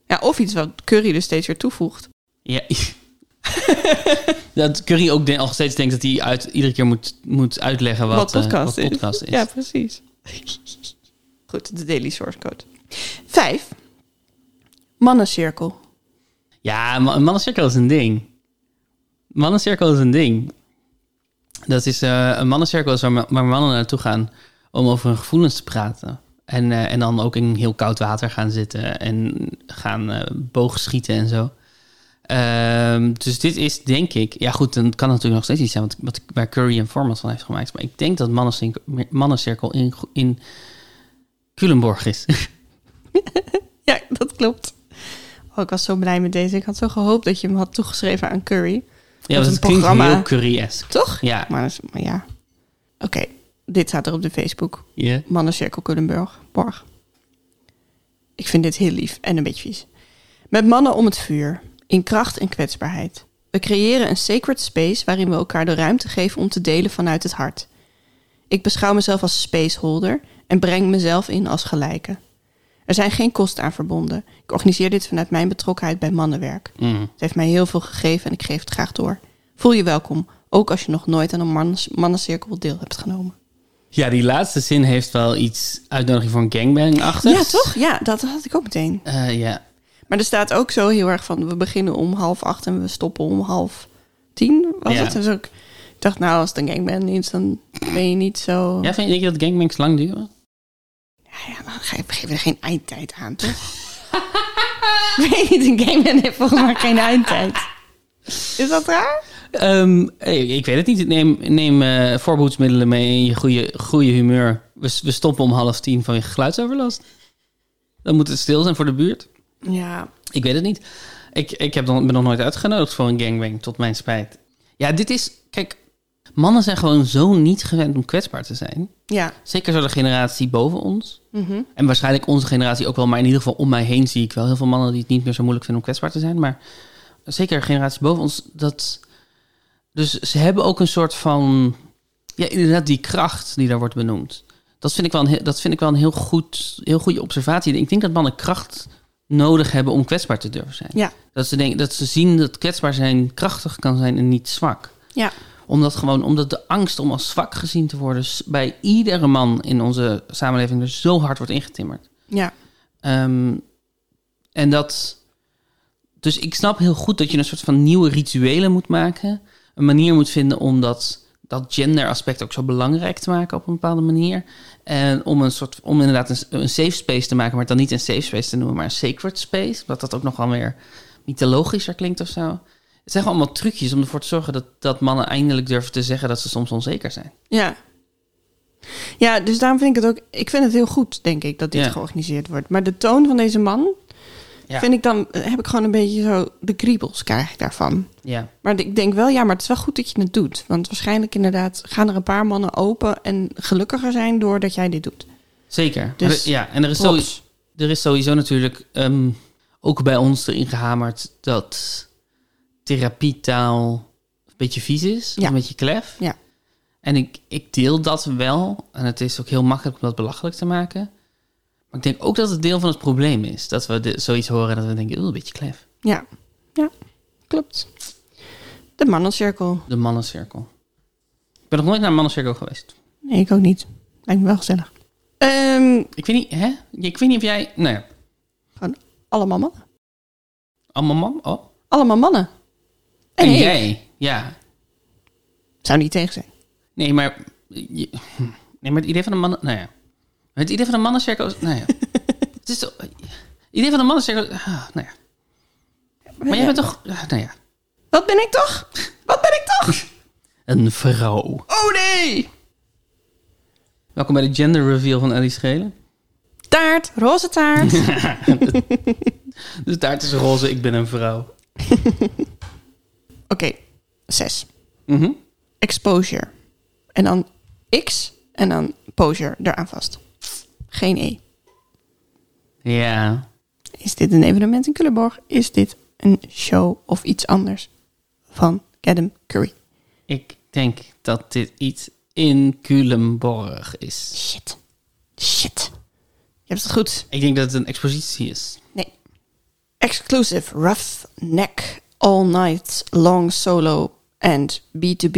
Speaker 2: Ja, of iets wat Curry dus steeds weer toevoegt.
Speaker 1: Ja. [LAUGHS] dat Curry ook de- nog steeds denkt dat hij uit, iedere keer moet, moet uitleggen wat,
Speaker 2: Wat,
Speaker 1: eh,
Speaker 2: podcast,
Speaker 1: wat podcast is.
Speaker 2: Ja, precies. [LAUGHS] Goed, de Daily Source Code. Vijf. Mannencirkel.
Speaker 1: Ja, ma- een mannencirkel is een ding. Een Mannencirkel is een ding. Dat is eh, een mannencirkel is waar, ma- waar mannen naartoe gaan om over hun gevoelens te praten. En, eh, en dan ook in heel koud water gaan zitten en gaan eh boogschieten en zo. Ehm, dus dit is denk ik, ja goed, dan kan het natuurlijk nog steeds iets zijn wat, wat, waar Curry een format van heeft gemaakt. Maar ik denk dat mannencirkel, mannencirkel in, in Culemborg is. [LAUGHS]
Speaker 2: Ja, dat klopt. Oh, ik was zo blij met deze. Ik had zo gehoopt dat je hem had toegeschreven aan Curry.
Speaker 1: ja,
Speaker 2: een
Speaker 1: want het klinkt
Speaker 2: programma.
Speaker 1: heel Curry-esque.
Speaker 2: Toch?
Speaker 1: Ja.
Speaker 2: Maar, dat is- maar ja. Oké, dit staat er op de Facebook.
Speaker 1: Ja.
Speaker 2: Mannencirkel Culemborg. Borg. Ik vind dit heel lief en een beetje vies. Met mannen om het vuur, in kracht en kwetsbaarheid. We creëren een sacred space waarin we elkaar de ruimte geven om te delen vanuit het hart. Ik beschouw mezelf als spaceholder en breng mezelf in als gelijke. Er zijn geen kosten aan verbonden. Ik organiseer dit vanuit mijn betrokkenheid bij mannenwerk.
Speaker 1: Mm.
Speaker 2: Het heeft mij heel veel gegeven en ik geef het graag door. Voel je welkom, ook als je nog nooit aan een mannens- mannencirkel deel hebt genomen.
Speaker 1: Ja, die laatste zin heeft wel iets uitnodiging voor een gangbang achter. Eh,
Speaker 2: Ja, toch? Ja, dat had ik ook meteen.
Speaker 1: ja.
Speaker 2: Maar er staat ook zo heel erg van, we beginnen om half acht en we stoppen om half tien. Was
Speaker 1: Ja.
Speaker 2: het? Dus ook, ik dacht, nou, als het een gangbang is, dan ben je niet zo... Ja,
Speaker 1: ja, vind denk je dat gangbangs lang duren?
Speaker 2: ja, dan ge- we geven er geen eindtijd aan, toch? [LAUGHS] Ik Weet niet, een gangbang heeft volgens mij geen eindtijd. Is dat raar?
Speaker 1: Ehm, eh, ik weet het niet. Neem, neem eh, voorbehoedsmiddelen mee en je goede, goede humeur. We, s- we stoppen om half tien vanwege geluidsoverlast. Dan moet het stil zijn voor de buurt.
Speaker 2: Ja.
Speaker 1: Ik weet het niet. Ik, ik heb dan, ben nog nooit uitgenodigd voor een gangbang, tot mijn spijt. Ja, dit is... Kijk, mannen zijn gewoon zo niet gewend om kwetsbaar te zijn.
Speaker 2: Ja.
Speaker 1: Zeker zo de generatie boven ons.
Speaker 2: Mhm.
Speaker 1: En waarschijnlijk onze generatie ook wel, maar in ieder geval om mij heen zie ik wel heel veel mannen die het niet meer zo moeilijk vinden om kwetsbaar te zijn. Maar zeker de generatie boven ons, dat. Dus ze hebben ook een soort van. Ja, inderdaad, die kracht die daar wordt benoemd. Dat vind ik wel een, he- dat vind ik wel een heel, goed, heel goede observatie. Ik denk dat mannen kracht nodig hebben om kwetsbaar te durven zijn.
Speaker 2: Ja.
Speaker 1: Dat, ze denken, dat ze zien dat kwetsbaar zijn krachtig kan zijn en niet zwak.
Speaker 2: Ja.
Speaker 1: Omdat, gewoon, omdat de angst om als zwak gezien te worden... s- bij iedere man in onze samenleving er zo hard wordt ingetimmerd.
Speaker 2: Ja.
Speaker 1: Ehm, en dat. Dus ik snap heel goed dat je een soort van nieuwe rituelen moet maken. Een manier moet vinden om dat, dat genderaspect ook zo belangrijk te maken op een bepaalde manier. En om een soort. Om inderdaad een, s- een safe space te maken, maar het dan niet een safe space te noemen, maar een sacred space. Omdat dat ook nogal weer mythologischer klinkt of zo. Het zijn gewoon allemaal trucjes om ervoor te zorgen dat, dat mannen eindelijk durven te zeggen dat ze soms onzeker zijn.
Speaker 2: Ja. Ja, dus daarom vind ik het ook... Ik vind het heel goed, denk ik, dat dit
Speaker 1: Ja.
Speaker 2: georganiseerd wordt. Maar de toon van deze man...
Speaker 1: Ja.
Speaker 2: Vind ik dan... Heb ik gewoon een beetje zo... De kriebels krijg ik daarvan.
Speaker 1: Ja.
Speaker 2: Maar ik denk wel, ja, maar het is wel goed dat je het doet. Want waarschijnlijk inderdaad gaan er een paar mannen open... en gelukkiger zijn doordat jij dit doet.
Speaker 1: Zeker.
Speaker 2: Dus-
Speaker 1: Maar er- ja, en er is
Speaker 2: Props.
Speaker 1: sowieso. er is sowieso natuurlijk ehm, ook bij ons erin gehamerd dat therapietaal een beetje vies is,
Speaker 2: Ja.
Speaker 1: een beetje klef.
Speaker 2: Ja.
Speaker 1: En ik, ik deel dat wel. En het is ook heel makkelijk om dat belachelijk te maken. Maar ik denk ook dat het deel van het probleem is. Dat we de- zoiets horen en dat we denken, oh, een beetje klef.
Speaker 2: Ja, ja, klopt. De mannencirkel.
Speaker 1: De mannencirkel. Ik ben nog nooit naar een mannencirkel geweest.
Speaker 2: Nee, ik ook niet. Lijkt me wel gezellig. Ehm,
Speaker 1: Ik weet niet, hè? Ik weet niet of jij... Nou ja,
Speaker 2: allemaal mannen.
Speaker 1: allemaal man? Oh.
Speaker 2: Allemaal mannen. En,
Speaker 1: en
Speaker 2: ik.
Speaker 1: jij? Ja,
Speaker 2: Zou niet tegen zijn.
Speaker 1: Nee, maar, je- nee, maar het idee van een mannen... Nou ja. Het idee van een mannencirkel... is- Nou ja. het is toch... Het idee van een mannencirkel... ah, nou ja. Maar jij bent toch... ah, Nou ja.
Speaker 2: Wat ben ik toch? Wat ben ik toch?
Speaker 1: Een vrouw.
Speaker 2: Oh nee!
Speaker 1: Welkom bij de gender reveal van Ellie Schelen.
Speaker 2: Taart, roze taart. [LAUGHS]
Speaker 1: Dus taart is roze, ik ben een vrouw.
Speaker 2: Oké, zes.
Speaker 1: Mhm.
Speaker 2: Exposure. En dan X en dan posure eraan vast. Geen E.
Speaker 1: Ja.
Speaker 2: Is dit een evenement in Culemborg? Is dit een show of iets anders van Adam Curry?
Speaker 1: Ik denk dat dit iets in Culemborg is.
Speaker 2: Shit. Shit. Je hebt het goed.
Speaker 1: Ik denk dat het een expositie is.
Speaker 2: Nee. Exclusive rough neck all night long solo and B2B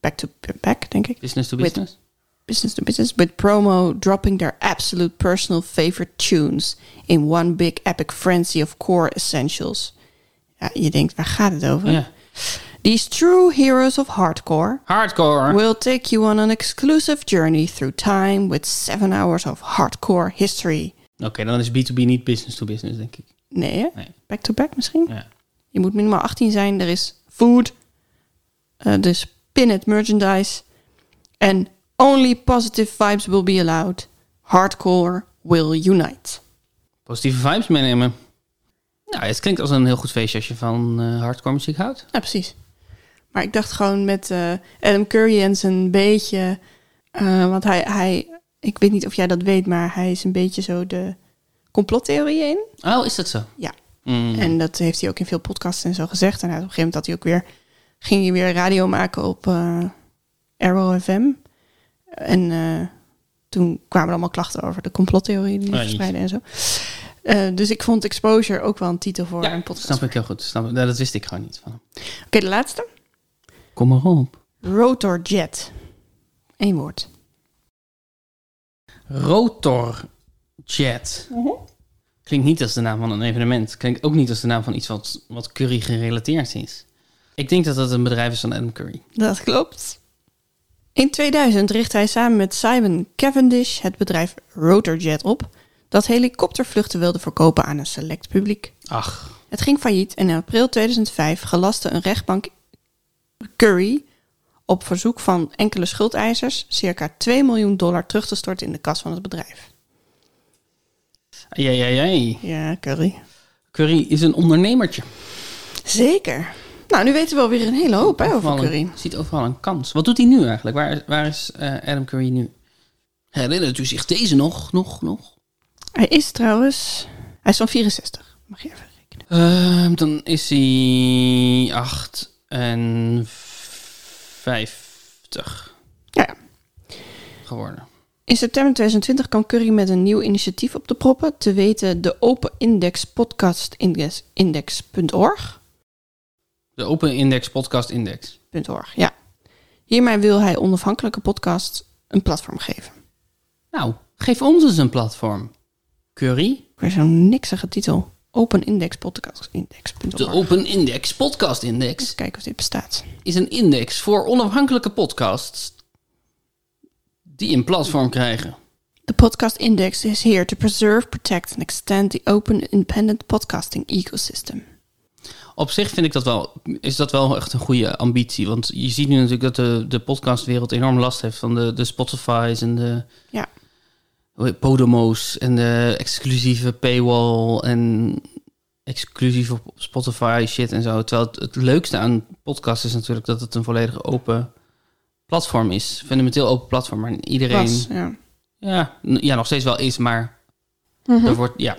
Speaker 2: back to back denk ik.
Speaker 1: Business to
Speaker 2: With-
Speaker 1: business.
Speaker 2: Business to business with promo dropping their absolute personal favorite tunes in one big epic frenzy of core essentials. Ja, je denkt waar gaat het over?
Speaker 1: Ja.
Speaker 2: These true heroes of hardcore
Speaker 1: Hardcore.
Speaker 2: We'll take you on an exclusive journey through time with seven hours of hardcore history.
Speaker 1: Oké, dan is B2B niet business to business, denk ik.
Speaker 2: Nee, hè?
Speaker 1: Nee.
Speaker 2: back to back misschien.
Speaker 1: Ja.
Speaker 2: Je moet minimaal 18 zijn. Er is food, eh, dus pin-it merchandise. En only positive vibes will be allowed. Hardcore will unite.
Speaker 1: positieve vibes meenemen. Nou, het klinkt als een heel goed feestje als je van eh, hardcore muziek houdt.
Speaker 2: Ja, precies. Maar ik dacht gewoon met eh, Adam Curry en zijn beetje... eh, want hij, hij, ik weet niet of jij dat weet, maar hij is een beetje zo de complottheorieën in.
Speaker 1: Oh, is dat zo?
Speaker 2: Ja,
Speaker 1: Mm.
Speaker 2: En dat heeft hij ook in veel podcasts en zo gezegd. En op een gegeven moment had hij ook weer, ging hij weer radio maken op eh Arrow FM. En eh, toen kwamen er allemaal klachten over de complottheorie die hij
Speaker 1: Ah,
Speaker 2: verspreidde en zo. Eh, dus ik vond Exposure ook wel een titel voor
Speaker 1: ja,
Speaker 2: een podcast.
Speaker 1: snap ik heel goed. Snap ik. Nou, dat wist ik gewoon niet van hem.
Speaker 2: Oké, de laatste.
Speaker 1: Kom maar op.
Speaker 2: Rotorjet. Eén woord.
Speaker 1: Rotorjet. Mhm. Klinkt niet als de naam van een evenement. Klinkt ook niet als de naam van iets wat, wat curry gerelateerd is. Ik denk dat dat een bedrijf is van Adam Curry.
Speaker 2: Dat klopt. In 2000 richtte hij samen met Simon Cavendish het bedrijf Rotorjet op... dat helikoptervluchten wilde verkopen aan een select publiek.
Speaker 1: Ach,
Speaker 2: Het ging failliet en in april 2005 gelastte een rechtbank Curry op verzoek van enkele schuldeisers circa 2 miljoen dollar terug te storten in de kas van het bedrijf.
Speaker 1: ja, ja, ja.
Speaker 2: Ja, Curry.
Speaker 1: Curry is een ondernemertje.
Speaker 2: Zeker. Nou, nu weten we alweer een hele hoop hè, over
Speaker 1: Overal een-
Speaker 2: Curry.
Speaker 1: ziet overal een kans. Wat doet hij nu eigenlijk? Waar, waar is eh, Adam Curry nu? Herinnert u zich deze nog? Nog, nog?
Speaker 2: Hij is trouwens... Hij is van 64. Mag je even rekenen.
Speaker 1: Ehm, dan is hij 8 en 50
Speaker 2: Ja, ja.
Speaker 1: geworden.
Speaker 2: In september 2020 kwam Curry met een nieuw initiatief op de proppen, te weten de Open Index Podcast Index- Index.org.
Speaker 1: De Open Index Podcast Index.
Speaker 2: .org, ja. Hiermee wil hij onafhankelijke podcasts een platform geven.
Speaker 1: Nou, geef ons eens een platform. Curry,
Speaker 2: Weer zo'n niksige titel. Open Index Podcast Index.org.
Speaker 1: de Open Index Podcast Index,
Speaker 2: Eens kijken of dit bestaat.
Speaker 1: is een index voor onafhankelijke podcasts die een platform krijgen.
Speaker 2: The podcast index is here to preserve, protect and extend the open independent podcasting ecosystem.
Speaker 1: Op zich vind ik dat wel, is dat wel echt een goede ambitie. Want je ziet nu natuurlijk dat de, de podcastwereld enorm last heeft van de, de Spotify's en de
Speaker 2: Ja.
Speaker 1: hoe heet- Podomo's en de exclusieve paywall en exclusief op Spotify shit en zo. Terwijl het, het leukste aan podcast is natuurlijk dat het een volledig open platform is. Fundamenteel open platform, maar iedereen...
Speaker 2: Was, ja.
Speaker 1: Ja, n- ja, nog steeds wel is, maar
Speaker 2: Hm?
Speaker 1: er wordt... Ja,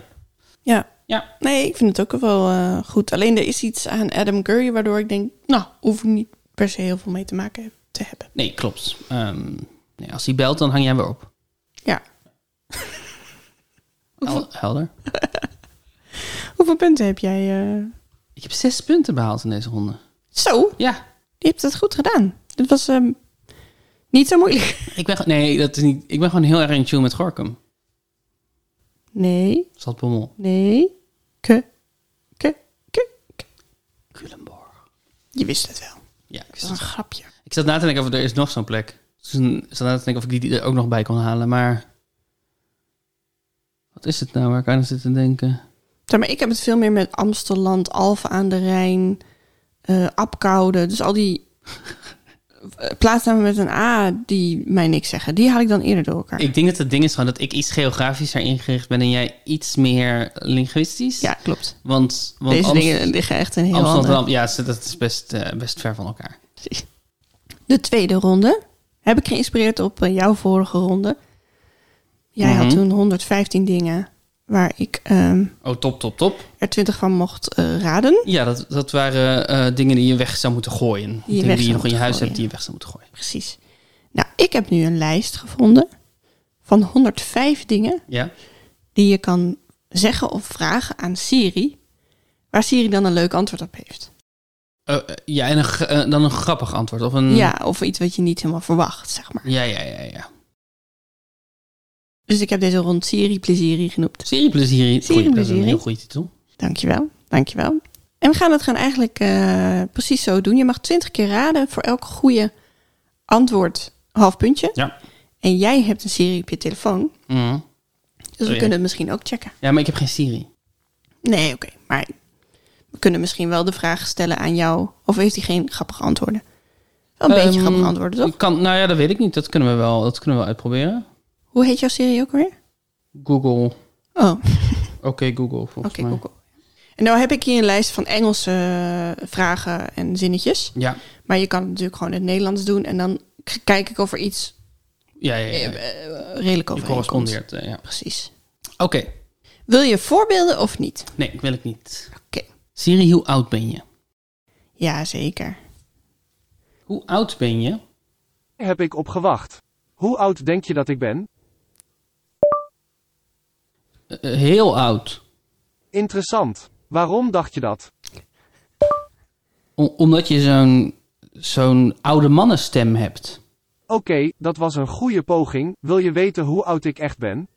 Speaker 2: ja.
Speaker 1: Ja.
Speaker 2: Nee, ik vind het ook wel eh, goed. Alleen er is iets aan Adam Curry waardoor ik denk, nou, hoef ik niet per se heel veel mee te maken heb- te hebben.
Speaker 1: nee, klopt. Ehm, nee, als hij belt, dan hang jij weer op. [LAUGHS]
Speaker 2: Ja.
Speaker 1: Hel- Helder.
Speaker 2: Hoeveel punten heb jij? eh?
Speaker 1: Ik heb zes punten behaald in deze ronde.
Speaker 2: Zo,
Speaker 1: Ja,
Speaker 2: je hebt het goed gedaan. Dit was ehm, niet zo moeilijk.
Speaker 1: ik ben, ge- nee, dat is niet, ik ben gewoon heel erg in tune met Gorkum.
Speaker 2: Nee,
Speaker 1: Stadbommel.
Speaker 2: nee. Ke, ke, ke, ke.
Speaker 1: Culemborg.
Speaker 2: Je wist het wel.
Speaker 1: Ja, ik,
Speaker 2: Dat is
Speaker 1: wist
Speaker 2: een
Speaker 1: het.
Speaker 2: grapje.
Speaker 1: ik zat na te denken of er is nog zo'n plek. Dus een- ik zat na te denken of ik die er ook nog bij kon halen, maar... Wat is het nou waar ik aan zit te denken?
Speaker 2: Zeg maar, ik heb het veel meer met Amsterdam, Alphen aan de Rijn, eh Apkoude. Dus al die eh, plaatsnamen met een A die mij niks zeggen. Die haal ik dan eerder door elkaar.
Speaker 1: Ik denk dat het ding is gewoon dat ik iets geografischer ingericht ben en jij iets meer linguïstisch.
Speaker 2: Ja, klopt.
Speaker 1: Want, want
Speaker 2: Deze
Speaker 1: Amst-
Speaker 2: dingen liggen echt een heel
Speaker 1: Amsterdam,
Speaker 2: andere...
Speaker 1: ja, ze- dat is best, eh, best ver van elkaar.
Speaker 2: De tweede ronde heb ik geïnspireerd op eh, jouw vorige ronde. Jij had
Speaker 1: Mhm.
Speaker 2: toen 115 dingen waar ik ehm,
Speaker 1: Oh, top, top, top.
Speaker 2: er 20 van mocht eh, raden.
Speaker 1: Ja, dat, dat waren eh, dingen die je weg zou moeten gooien.
Speaker 2: je
Speaker 1: dingen die
Speaker 2: weg
Speaker 1: je
Speaker 2: zou
Speaker 1: nog in je
Speaker 2: moeten
Speaker 1: huis
Speaker 2: gooien.
Speaker 1: hebt die je weg zou moeten gooien.
Speaker 2: Precies. Nou, ik heb nu een lijst gevonden van 105 dingen
Speaker 1: Ja?
Speaker 2: die je kan zeggen of vragen aan Siri, waar Siri dan een leuk antwoord op heeft.
Speaker 1: Eh, eh, ja, en een, g- eh, dan een grappig antwoord. Of een...
Speaker 2: Ja, of iets wat je niet helemaal verwacht, zeg maar.
Speaker 1: Ja, ja, ja. ja.
Speaker 2: Dus ik heb deze rond Siri Plezierie genoemd.
Speaker 1: Serie plezier.
Speaker 2: Serie
Speaker 1: Dat is een
Speaker 2: Plezier.
Speaker 1: heel goede titel.
Speaker 2: Dankjewel, dankjewel. En we gaan het gaan eigenlijk eh, precies zo doen. Je mag twintig keer raden voor elk goede antwoord half puntje.
Speaker 1: Ja.
Speaker 2: En jij hebt een Siri op je telefoon,
Speaker 1: Mhm.
Speaker 2: dus
Speaker 1: Oh
Speaker 2: we
Speaker 1: ja.
Speaker 2: kunnen het misschien ook checken.
Speaker 1: Ja, maar ik heb geen Siri.
Speaker 2: Nee, oké, maar we kunnen misschien wel de vraag stellen aan jou, of heeft hij geen grappige antwoorden? Wel een beetje
Speaker 1: Ehm,
Speaker 2: grappige antwoorden, toch?
Speaker 1: ik Kan, nou ja, dat weet ik niet. Dat kunnen we wel, dat kunnen we wel uitproberen.
Speaker 2: Hoe heet jouw serie ook alweer?
Speaker 1: Google. Oké,
Speaker 2: Oh, oké,
Speaker 1: Google, volgens mij.
Speaker 2: Google. En nou heb ik hier een lijst van Engelse eh, vragen en zinnetjes.
Speaker 1: Ja.
Speaker 2: Maar je kan het natuurlijk gewoon in het Nederlands doen. En dan k- kijk ik of er iets
Speaker 1: Ja, ja, ja. ja.
Speaker 2: eh, eh, redelijk
Speaker 1: Je
Speaker 2: overeenkomt.
Speaker 1: correspondeert. eh, ja.
Speaker 2: Precies.
Speaker 1: Oké.
Speaker 2: Wil je voorbeelden of niet?
Speaker 1: Nee, wil ik niet.
Speaker 2: Oké.
Speaker 1: Siri, hoe oud ben je?
Speaker 2: Ja, zeker.
Speaker 1: Hoe oud ben je?
Speaker 3: heb ik op gewacht. Hoe oud denk je dat ik ben?
Speaker 1: Eh, eh, heel oud.
Speaker 3: Interessant. Waarom dacht je dat?
Speaker 1: O- omdat je zo'n zo'n oude mannenstem hebt.
Speaker 3: Oké, dat was een goede poging. Wil je weten hoe oud ik echt ben?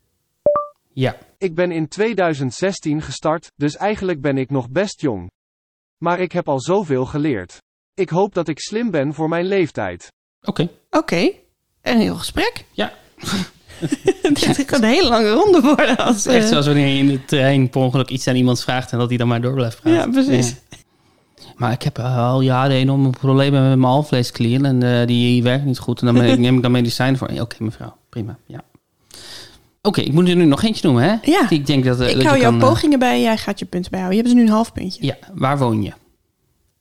Speaker 1: Ja.
Speaker 3: Ik ben in 2016 gestart, dus eigenlijk ben ik nog best jong. Maar ik heb al zoveel geleerd. Ik hoop dat ik slim ben voor mijn leeftijd.
Speaker 1: Oké.
Speaker 2: Oké. Een heel
Speaker 1: [LAUGHS]
Speaker 2: gesprek.
Speaker 1: Ja.
Speaker 2: Dit kan een hele lange ronde worden. Als,
Speaker 1: Echt
Speaker 2: eh,
Speaker 1: zoals wanneer je in de trein per ongeluk iets aan iemand vraagt en dat hij dan maar door blijft praten.
Speaker 2: Ja, precies.
Speaker 1: Ja. Maar ik heb al jaren enorme problemen met mijn alvleesklier en eh, die werkt niet goed. En dan ben ik- neem ik dan medicijn voor. Ja, Oké, mevrouw. Prima. Ja. Oké, ik moet er nu nog eentje noemen, hè?
Speaker 2: Ja.
Speaker 1: Die Ik denk dat, eh, dat
Speaker 2: Ik
Speaker 1: je
Speaker 2: hou jouw
Speaker 1: kan, eh,
Speaker 2: pogingen bij. Jij gaat je punten bijhouden. Je hebt dus nu een half puntje.
Speaker 1: ja, waar woon je?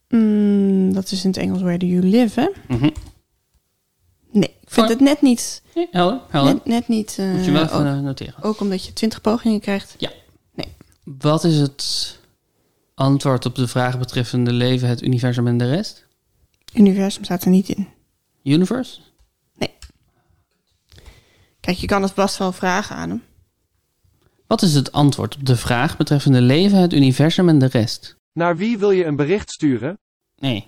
Speaker 2: Mm, dat is in het Engels where do you live, hè?
Speaker 1: Mhm.
Speaker 2: Nee, ik vind
Speaker 1: Oh.
Speaker 2: het net niet...
Speaker 1: Nee, helder, helder.
Speaker 2: Net, net niet... eh,
Speaker 1: moet je wel even
Speaker 2: ook,
Speaker 1: eh, noteren.
Speaker 2: ook omdat je 20 pogingen krijgt.
Speaker 1: Wat is het antwoord op de vraag betreffende leven, het universum en de rest?
Speaker 2: Universum staat er niet in.
Speaker 1: Universe?
Speaker 2: Nee. Kijk, je kan het vast wel vragen aan hem.
Speaker 1: Wat is het antwoord op de vraag betreffende leven, het universum en de rest?
Speaker 3: Naar wie wil je een bericht sturen?
Speaker 1: Nee.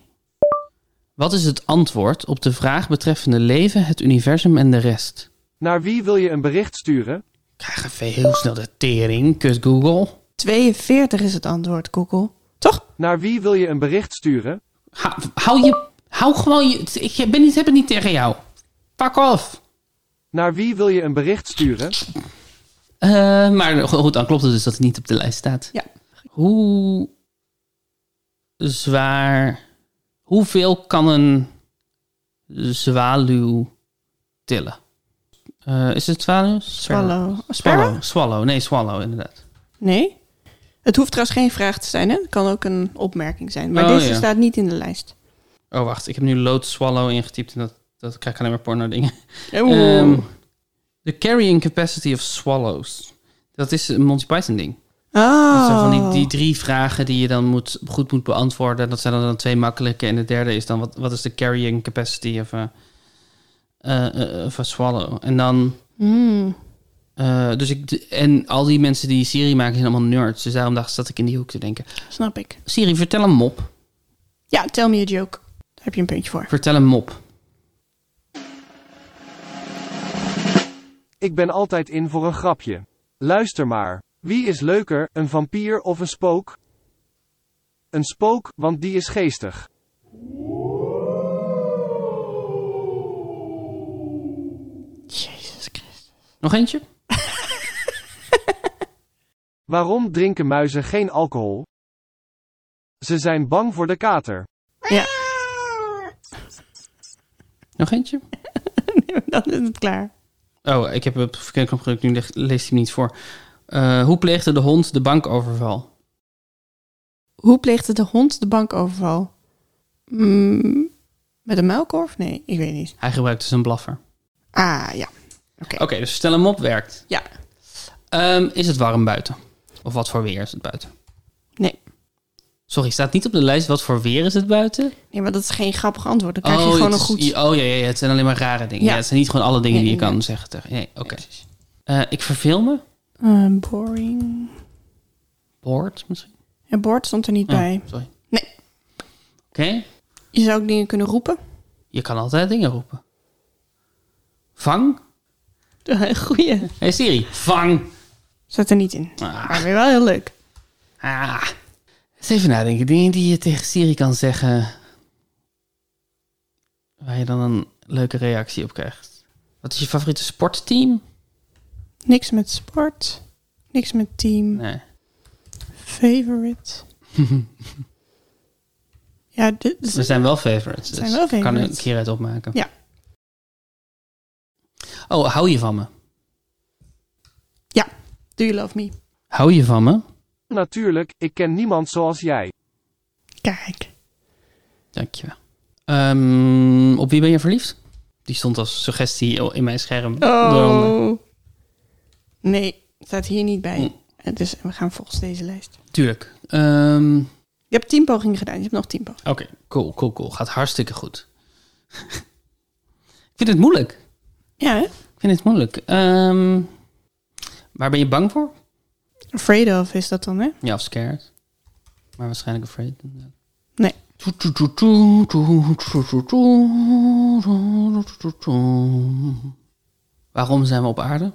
Speaker 1: Wat is het antwoord op de vraag betreffende leven, het universum en de rest?
Speaker 3: Naar wie wil je een bericht sturen?
Speaker 1: Krijg even heel snel de tering, kut Google.
Speaker 2: 42 is het antwoord, Google. Toch?
Speaker 3: Naar wie wil je een bericht sturen?
Speaker 1: Ha- hou je... Hou gewoon je... Ik ben niet, heb het niet tegen jou. Pak af.
Speaker 3: Naar wie wil je een bericht sturen?
Speaker 1: Eh, maar goed, dan klopt het dus dat het niet op de lijst staat.
Speaker 2: Ja.
Speaker 1: Hoe zwaar... Hoeveel kan een zwaluw tillen? Eh, is het zwaluw?
Speaker 2: Swallow. Sparrow?
Speaker 1: Swallow. Swallow. Nee, swallow inderdaad.
Speaker 2: Nee. Het hoeft trouwens geen vraag te zijn, hè? Het kan ook een opmerking zijn. Maar
Speaker 1: Oh,
Speaker 2: deze
Speaker 1: ja.
Speaker 2: staat niet in de lijst.
Speaker 1: Oh, wacht. Ik heb nu load swallow ingetypt en dat, dat krijg ik alleen maar porno dingen.
Speaker 2: Oeh.
Speaker 1: Ehm, the carrying capacity of swallows. Dat is een Monty Python ding. Dat zijn
Speaker 2: oh.
Speaker 1: van die, die drie vragen die je dan moet, goed moet beantwoorden. Dat zijn er dan twee makkelijke. En de derde is dan, wat, wat is de carrying capacity of a, eh, eh, of a swallow? En dan...
Speaker 2: Hmm.
Speaker 1: eh, dus ik, en al die mensen die Siri maken zijn allemaal nerds. Dus daarom dacht, zat ik in die hoek te denken.
Speaker 2: Snap ik.
Speaker 1: Siri, vertel een mop.
Speaker 2: Ja, tell me a joke. Daar heb je een puntje voor.
Speaker 1: Vertel een mop.
Speaker 3: Ik ben altijd in voor een grapje. Luister maar. Wie is leuker, een vampier of een spook? Een spook, want die is geestig.
Speaker 2: Jezus Christus.
Speaker 1: Nog eentje?
Speaker 3: Waarom drinken muizen geen alcohol? Ze zijn bang voor de kater.
Speaker 2: Ja, [LAUGHS]
Speaker 1: Nog eentje?
Speaker 2: dan is het klaar.
Speaker 1: Oh, ik heb het verkeerd opgelukt. Nu leg- leest hij hem niet voor. Eh, hoe pleegde de hond de bankoverval?
Speaker 2: Hoe pleegde de hond de bankoverval? Mm, met een muilkorf? Nee, ik weet niet.
Speaker 1: Hij gebruikte zijn blaffer.
Speaker 2: Ah, ja.
Speaker 1: Oké, dus stel hem op, werkt.
Speaker 2: Ja.
Speaker 1: Ehm, is het warm buiten? Of wat voor weer is het buiten?
Speaker 2: Nee.
Speaker 1: Sorry, staat niet op de lijst wat voor weer is het buiten?
Speaker 2: Nee, maar dat is geen grappig antwoord. Dan krijg je gewoon
Speaker 1: het
Speaker 2: een
Speaker 1: is-
Speaker 2: goed...
Speaker 1: Oh ja, ja, ja, het zijn alleen maar rare dingen.
Speaker 2: Ja.
Speaker 1: Ja. het zijn niet gewoon alle dingen
Speaker 2: Nee,
Speaker 1: die je kan
Speaker 2: inderdaad.
Speaker 1: zeggen. Tegen. Nee, oké. Eh, ik verveel me.
Speaker 2: Eh, boring.
Speaker 1: Boord misschien?
Speaker 2: Het bord stond er niet
Speaker 1: Oh,
Speaker 2: bij.
Speaker 1: sorry.
Speaker 2: Nee.
Speaker 1: Oké,
Speaker 2: Je zou ook dingen kunnen roepen.
Speaker 1: je kan altijd dingen roepen. Vang?
Speaker 2: [LAUGHS] Goeie.
Speaker 1: Hey Siri, vang!
Speaker 2: Zat er niet in.
Speaker 1: Ah.
Speaker 2: Maar weer wel heel leuk.
Speaker 1: Ah. Eens even nadenken. Dingen die je tegen Siri kan zeggen. Waar je dan een leuke reactie op krijgt. Wat is je favoriete sportteam?
Speaker 2: Niks met sport. Niks met team.
Speaker 1: Nee.
Speaker 2: [LAUGHS] Favorite. ja, dit is...
Speaker 1: Er zijn wel favorites. Dus
Speaker 2: zijn wel
Speaker 1: ik Kan er een
Speaker 2: favorites.
Speaker 1: keer uit opmaken.
Speaker 2: Ja.
Speaker 1: Oh, hou je van me?
Speaker 2: Do you love me?
Speaker 1: Hou je van me?
Speaker 3: Natuurlijk, ik ken niemand zoals jij.
Speaker 2: Kijk.
Speaker 1: Dankjewel. Ehm op wie ben je verliefd? Die stond als suggestie in mijn scherm. Daaronder.
Speaker 2: Oh. Nee, staat hier niet bij. Dus we gaan volgens deze lijst.
Speaker 1: Tuurlijk. Ehm
Speaker 2: Je hebt tien pogingen gedaan. Je hebt nog tien pogingen.
Speaker 1: Oké, cool, cool, cool. Gaat hartstikke goed. [LAUGHS] ik vind het moeilijk.
Speaker 2: Ja, hè?
Speaker 1: Ik vind het moeilijk. Ehm, waar ben je bang voor?
Speaker 2: Afraid of is dat dan, hè?
Speaker 1: Ja, of scared. Maar waarschijnlijk afraid. inderdaad.
Speaker 2: Nee.
Speaker 1: Waarom zijn we op aarde?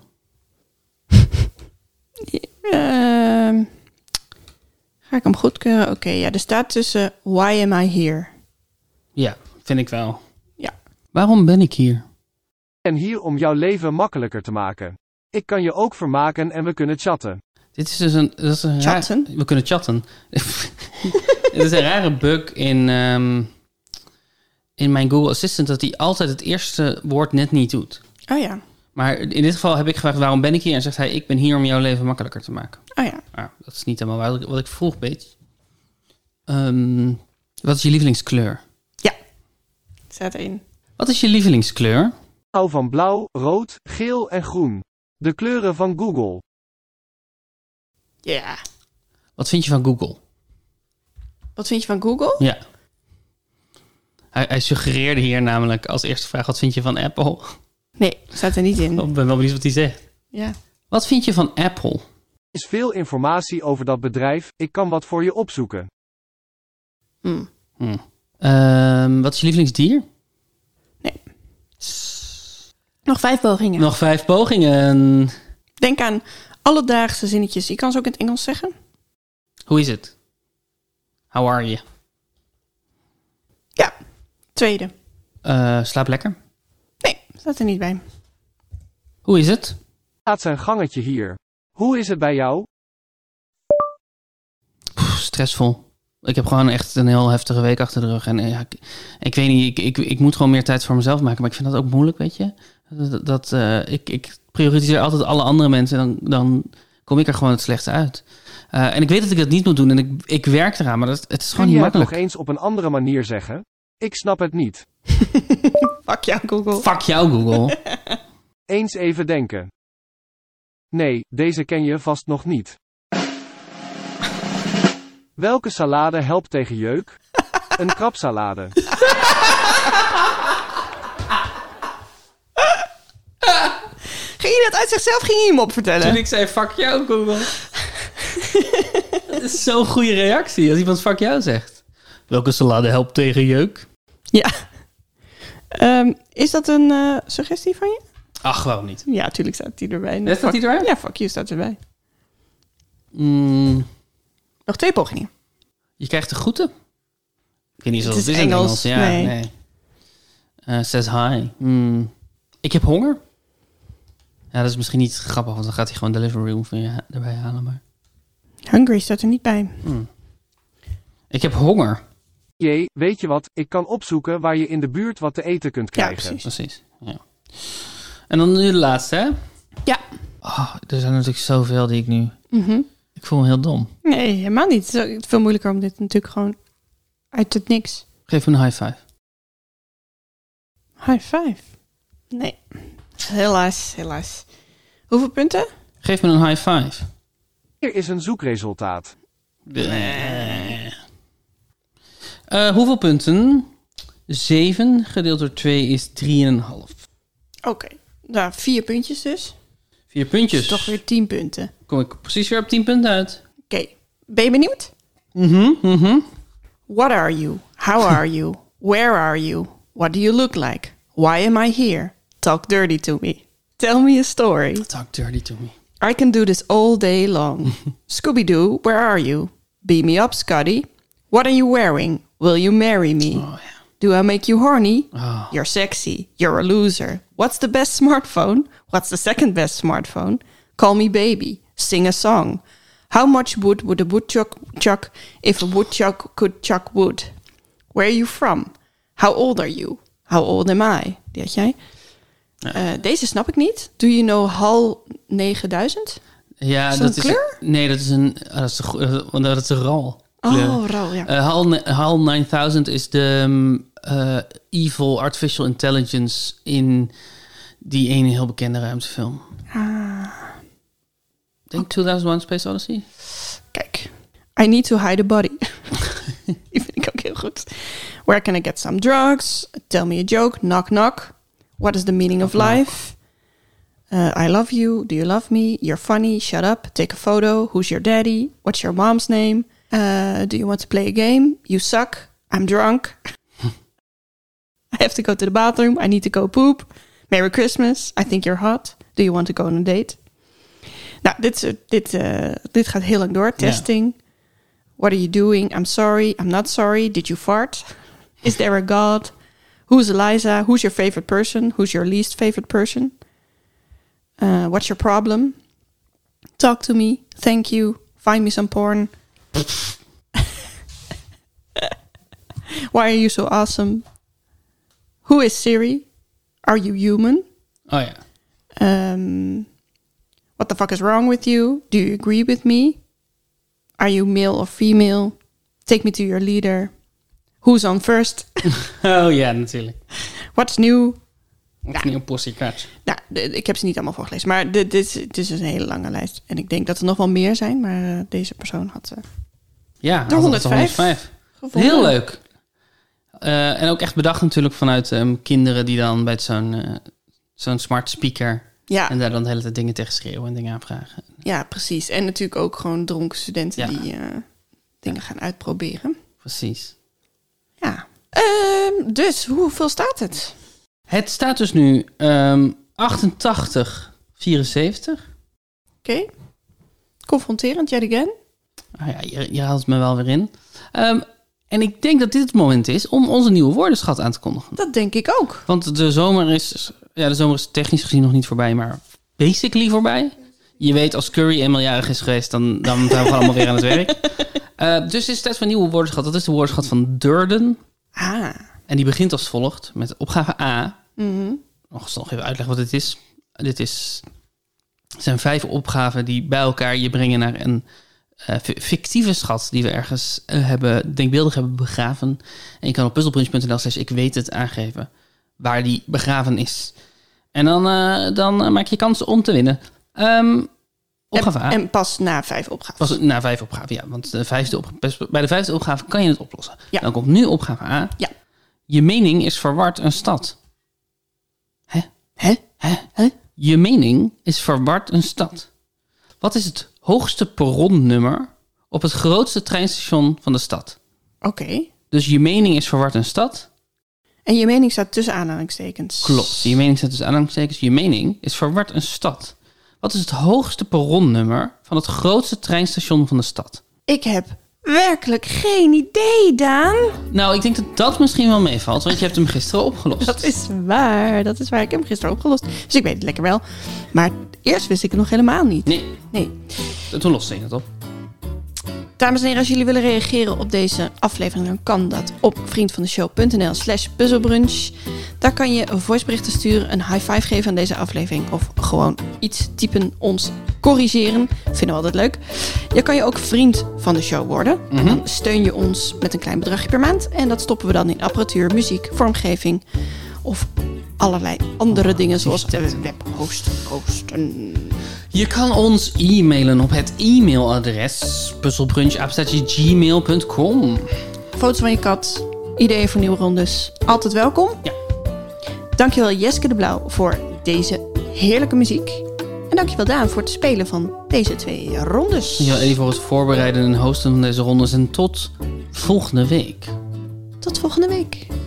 Speaker 2: Ehm, ga ik hem goedkeuren? Oké, ja, er staat tussen Why am I here?
Speaker 1: Ja, vind ik wel.
Speaker 2: Ja.
Speaker 1: Waarom ben ik hier?
Speaker 3: En hier om jouw leven makkelijker te maken. Ik kan je ook vermaken en we kunnen chatten.
Speaker 1: Dit is dus een... Dat is een raar-
Speaker 2: Chatten?
Speaker 1: we kunnen chatten. [LAUGHS] Het is een rare bug in, ehm, in mijn Google Assistant... dat hij altijd het eerste woord net niet doet.
Speaker 2: Oh ja,
Speaker 1: Maar in dit geval heb ik gevraagd waarom ben ik hier? En zegt hij, ik ben hier om jouw leven makkelijker te maken.
Speaker 2: oh ja.
Speaker 1: Ah, dat is niet helemaal wat ik, wat ik vroeg, beetje. Ehm, wat is je lievelingskleur?
Speaker 2: Staat erin.
Speaker 1: Wat is je lievelingskleur?
Speaker 3: Hou van blauw, rood, geel en groen. De kleuren van Google.
Speaker 2: Ja.
Speaker 1: Wat vind je van Google?
Speaker 2: Wat vind je van Google?
Speaker 1: Ja. Hij, hij suggereerde hier namelijk als eerste vraag, wat vind je van Apple? [LAUGHS]
Speaker 2: Nee, staat er niet in.
Speaker 1: Ik ben wel benieuwd wat hij zegt.
Speaker 2: Ja.
Speaker 1: Wat vind je van Apple?
Speaker 3: Is veel informatie over dat bedrijf, ik kan wat voor je opzoeken.
Speaker 2: Hm.
Speaker 1: Hm. Ehm, wat is je lievelingsdier?
Speaker 2: Nog vijf pogingen.
Speaker 1: Nog vijf pogingen.
Speaker 2: Denk aan alledaagse zinnetjes. Je kan ze ook in het Engels zeggen.
Speaker 1: Hoe is het? How are you?
Speaker 2: Ja. Tweede.
Speaker 1: Eh, slaap lekker.
Speaker 2: Nee, staat er niet bij.
Speaker 1: Hoe is het?
Speaker 3: Laat zijn gangetje hier. Hoe is het bij jou?
Speaker 1: Pff, stressvol. Ik heb gewoon echt een heel heftige week achter de rug. En eh, ja, ik, ik weet niet, ik, ik, ik moet gewoon meer tijd voor mezelf maken. Maar ik vind dat ook moeilijk, weet je. Dat, dat, eh, ik, ik prioritiseer altijd alle andere mensen. En dan, dan kom ik er gewoon het slechtste uit. Eh, en ik weet dat ik dat niet moet doen. En ik, ik werk eraan, maar dat, het is gewoon
Speaker 3: Kun
Speaker 1: niet
Speaker 3: je het nog
Speaker 1: makkelijk.
Speaker 3: eens op een andere manier zeggen? Ik snap het niet.
Speaker 2: Pak jou, Google.
Speaker 1: Fuck jou, [LAUGHS] Google.
Speaker 3: Eens even denken. Nee, deze ken je vast nog niet. Welke salade helpt tegen jeuk?
Speaker 1: [LAUGHS]
Speaker 3: Een krabsalade.
Speaker 2: Ging je dat uit zichzelf? Ging je hem op vertellen?
Speaker 1: ik zei fuck jou, Google. dat is zo'n goede reactie als iemand fuck jou zegt. Welke salade helpt tegen jeuk?
Speaker 2: Ja. Ehm, is dat een eh, suggestie van je?
Speaker 1: Ach, waarom niet?
Speaker 2: Ja, tuurlijk staat die erbij.
Speaker 1: Ja, staat die erbij?
Speaker 2: Ja, fuck you staat erbij.
Speaker 1: Mm,
Speaker 2: Nog twee pogingen.
Speaker 1: je krijgt de groeten. Ik weet niet
Speaker 2: Het
Speaker 1: of het
Speaker 2: is
Speaker 1: is in
Speaker 2: Engels,
Speaker 1: Engels. Ja,
Speaker 2: nee.
Speaker 1: nee. Eh, says hi. Mm, ik heb honger. Ja, dat is misschien niet grappig, want dan gaat hij gewoon delivery room van je ha- erbij halen. Maar.
Speaker 2: Hungry staat er niet bij.
Speaker 1: mm. Ik heb honger.
Speaker 3: Jee, weet je wat, ik kan opzoeken waar je in de buurt wat te eten kunt
Speaker 2: Ja,
Speaker 3: krijgen.
Speaker 2: precies.
Speaker 1: Precies. Ja. En dan nu de laatste, hè?
Speaker 2: Ja.
Speaker 1: Oh, er zijn natuurlijk zoveel die ik nu...
Speaker 2: Mhm.
Speaker 1: Ik voel me heel dom.
Speaker 2: Nee, helemaal niet. Het is ook veel moeilijker om dit natuurlijk gewoon uit het niks.
Speaker 1: Geef me een high five.
Speaker 2: High five. Nee. Helaas, helaas. Hoeveel punten?
Speaker 1: Geef me een high five.
Speaker 3: Hier is een zoekresultaat.
Speaker 1: Eh. Eh, hoeveel punten? 7 gedeeld door 2 is 3,5.
Speaker 2: Oké. Nou, vier puntjes dus.
Speaker 1: Vier puntjes.
Speaker 2: Toch weer tien punten. Oké.
Speaker 1: Kom ik precies weer op 10 punten uit.
Speaker 2: Ben je benieuwd?
Speaker 1: Mhm, mhm.
Speaker 2: What are you? How are you? [LAUGHS] Where are you? What do you look like? Why am I here? Talk dirty to me. Tell me a story.
Speaker 1: Talk dirty to me.
Speaker 2: I can do this all day
Speaker 1: [LAUGHS]
Speaker 2: long. Scooby Doo, where are you? Beam me up, Scotty. What are you wearing? Will you marry me?
Speaker 1: Oh ja.
Speaker 2: Do I make you horny?
Speaker 1: Oh.
Speaker 2: You're sexy. You're a loser. What's the best smartphone? What's the second best smartphone? Call me baby. Sing a song. How much wood would a woodchuck chuck if a woodchuck could chuck wood? Where are you from? How old are you? How old am I? Die had jij. Eh, deze snap ik niet. Do you know HAL 9000?
Speaker 1: Ja,
Speaker 2: Is dat
Speaker 1: dat
Speaker 2: een
Speaker 1: is
Speaker 2: kleur?
Speaker 1: Nee, dat is een ah, dat is een, go- eh, want dat is een RAL. kleur.
Speaker 2: Oh, RAL, ja.
Speaker 1: Eh, HAL, ne- HAL 9000 is de mm, eh, evil artificial intelligence in die ene heel bekende ruimtefilm. Ah. Ik Denk 2001 Space Odyssey?
Speaker 2: Kijk. I need to hide a body. [LAUGHS] Die vind ik ook heel goed. Where can I get some drugs? Tell me a joke. Knock, knock. What is the meaning of life? Uh, I love you. Do you love me? You're funny. Shut up. Take a photo. Who's your daddy? What's your mom's name? Uh, do you want to play a game? You suck. I'm drunk. I have to go to the bathroom. I need to go poop. Merry Christmas. I think you're hot. Do you want to go on a date? Nou, dit, soort- dit, eh, dit gaat heel lang door. Testing. What are you doing? I'm sorry. I'm not sorry. Did you fart? Is there a God? Who's Eliza? Who's your favorite person? Who's your least favorite person? Uh, what's your problem? Talk to me. Thank you. Find me some porn. [LAUGHS] Why are you so awesome? Who is Siri? Are you human?
Speaker 1: Oh ja.
Speaker 2: Um, what the fuck is wrong with you? Do you agree with me? Are you male or female? Take me to your leader. Who's on first? [LAUGHS]
Speaker 1: Oh ja, natuurlijk.
Speaker 2: What's new?
Speaker 1: Of niet een possie
Speaker 2: Nou, de- ik heb ze niet allemaal voorgelezen, maar dit, dit, is- dit is een hele lange lijst. En ik denk dat er nog wel meer zijn, maar eh, deze persoon had ze
Speaker 1: Ja,
Speaker 2: De
Speaker 1: altijd
Speaker 2: 105.
Speaker 1: 105.
Speaker 2: gevonden.
Speaker 1: Heel leuk. Eh, en ook echt bedacht natuurlijk vanuit ehm, kinderen die dan bij zo'n eh, zo'n zo'n smart speaker.
Speaker 2: Ja,
Speaker 1: En daar dan de hele tijd dingen tegen schreeuwen en dingen aanvragen.
Speaker 2: ja, precies. En natuurlijk ook gewoon dronken studenten
Speaker 1: Ja.
Speaker 2: die eh, dingen gaan uitproberen.
Speaker 1: Precies.
Speaker 2: Ja. Ehm, dus, hoeveel staat het?
Speaker 1: Het staat dus nu ehm 88, 74.
Speaker 2: Oké. Confronterend, yet again.
Speaker 1: Ah ja, je, je haalt het me wel weer in. Ehm, en ik denk dat dit het moment is om onze nieuwe woordenschat aan te kondigen.
Speaker 2: Dat denk ik ook.
Speaker 1: Want de zomer is, ja, de zomer is technisch gezien nog niet voorbij, maar basically voorbij. Je weet, als Curry eenmaaljarig is geweest, dan, dan zijn we gewoon allemaal weer aan het werk. Eh, dus is het tijd voor een nieuwe woordenschat. Dat is de woordenschat van Durden.
Speaker 2: Ah.
Speaker 1: En die begint als volgt met opgave A.
Speaker 2: Mhm.
Speaker 1: nog eens nog even uitleggen wat dit is. Dit is, het zijn vijf opgaven die bij elkaar je brengen naar een eh, fi- fictieve schat die we ergens eh, hebben, denkbeeldig hebben begraven. En je kan op puzzelbrunch.nl slash ik weet het aangeven waar die begraven is. En dan, eh, dan eh, maak je kans om te winnen. Ehm opgave
Speaker 2: en,
Speaker 1: A.
Speaker 2: en pas na vijf opgaves.
Speaker 1: Was het na vijf opgaven, ja. Want de vijfde op, best- bij de vijfde opgave kan je het oplossen.
Speaker 2: Ja.
Speaker 1: Dan komt nu opgave A.
Speaker 2: Ja.
Speaker 1: Je mening is verward een stad. Hè?
Speaker 2: Hè?
Speaker 1: Hè?
Speaker 2: Hè?
Speaker 1: Je mening is verward een stad. Wat is het hoogste perronnummer op het grootste treinstation van de stad?
Speaker 2: Oké.
Speaker 1: Dus je mening is verward een stad.
Speaker 2: En je mening staat tussen aanhalingstekens.
Speaker 1: Klopt. Je mening staat dus aanhalingstekens. Je mening is verward een stad. Wat is het hoogste perronnummer van het grootste treinstation van de stad?
Speaker 2: Ik heb werkelijk geen idee, Daan.
Speaker 1: Nou, ik denk dat dat misschien wel meevalt, want je hebt hem gisteren opgelost.
Speaker 2: Dat is waar. Dat is waar. Ik heb hem gisteren opgelost. Dus ik weet het lekker wel. Maar eerst wist ik het nog helemaal niet.
Speaker 1: Nee,
Speaker 2: Nee.
Speaker 1: toen loste je het op.
Speaker 2: Dames en heren, als jullie willen reageren op deze aflevering, dan kan dat op vriendvandeshow.nl slash puzzelbrunch. Daar kan je voiceberichten sturen, een high five geven aan deze aflevering of gewoon iets typen, ons corrigeren. Vinden we altijd leuk. Je kan je ook vriend van de show worden. En dan steun je ons met een klein bedragje per maand. En dat stoppen we dan in apparatuur, muziek, vormgeving of allerlei andere dingen zoals webhosten.
Speaker 1: Je kan ons e-mailen op het e-mailadres puzzelbrunch.gmail.com.
Speaker 2: Foto's van je kat. Ideeën voor nieuwe rondes. Altijd welkom.
Speaker 1: Ja.
Speaker 2: Dankjewel Jeske de Blauw voor deze heerlijke muziek. En dankjewel Daan voor het spelen van deze twee rondes.
Speaker 1: Dankjewel Eddie voor het voorbereiden en hosten van deze rondes. En tot volgende week.
Speaker 2: Tot volgende week.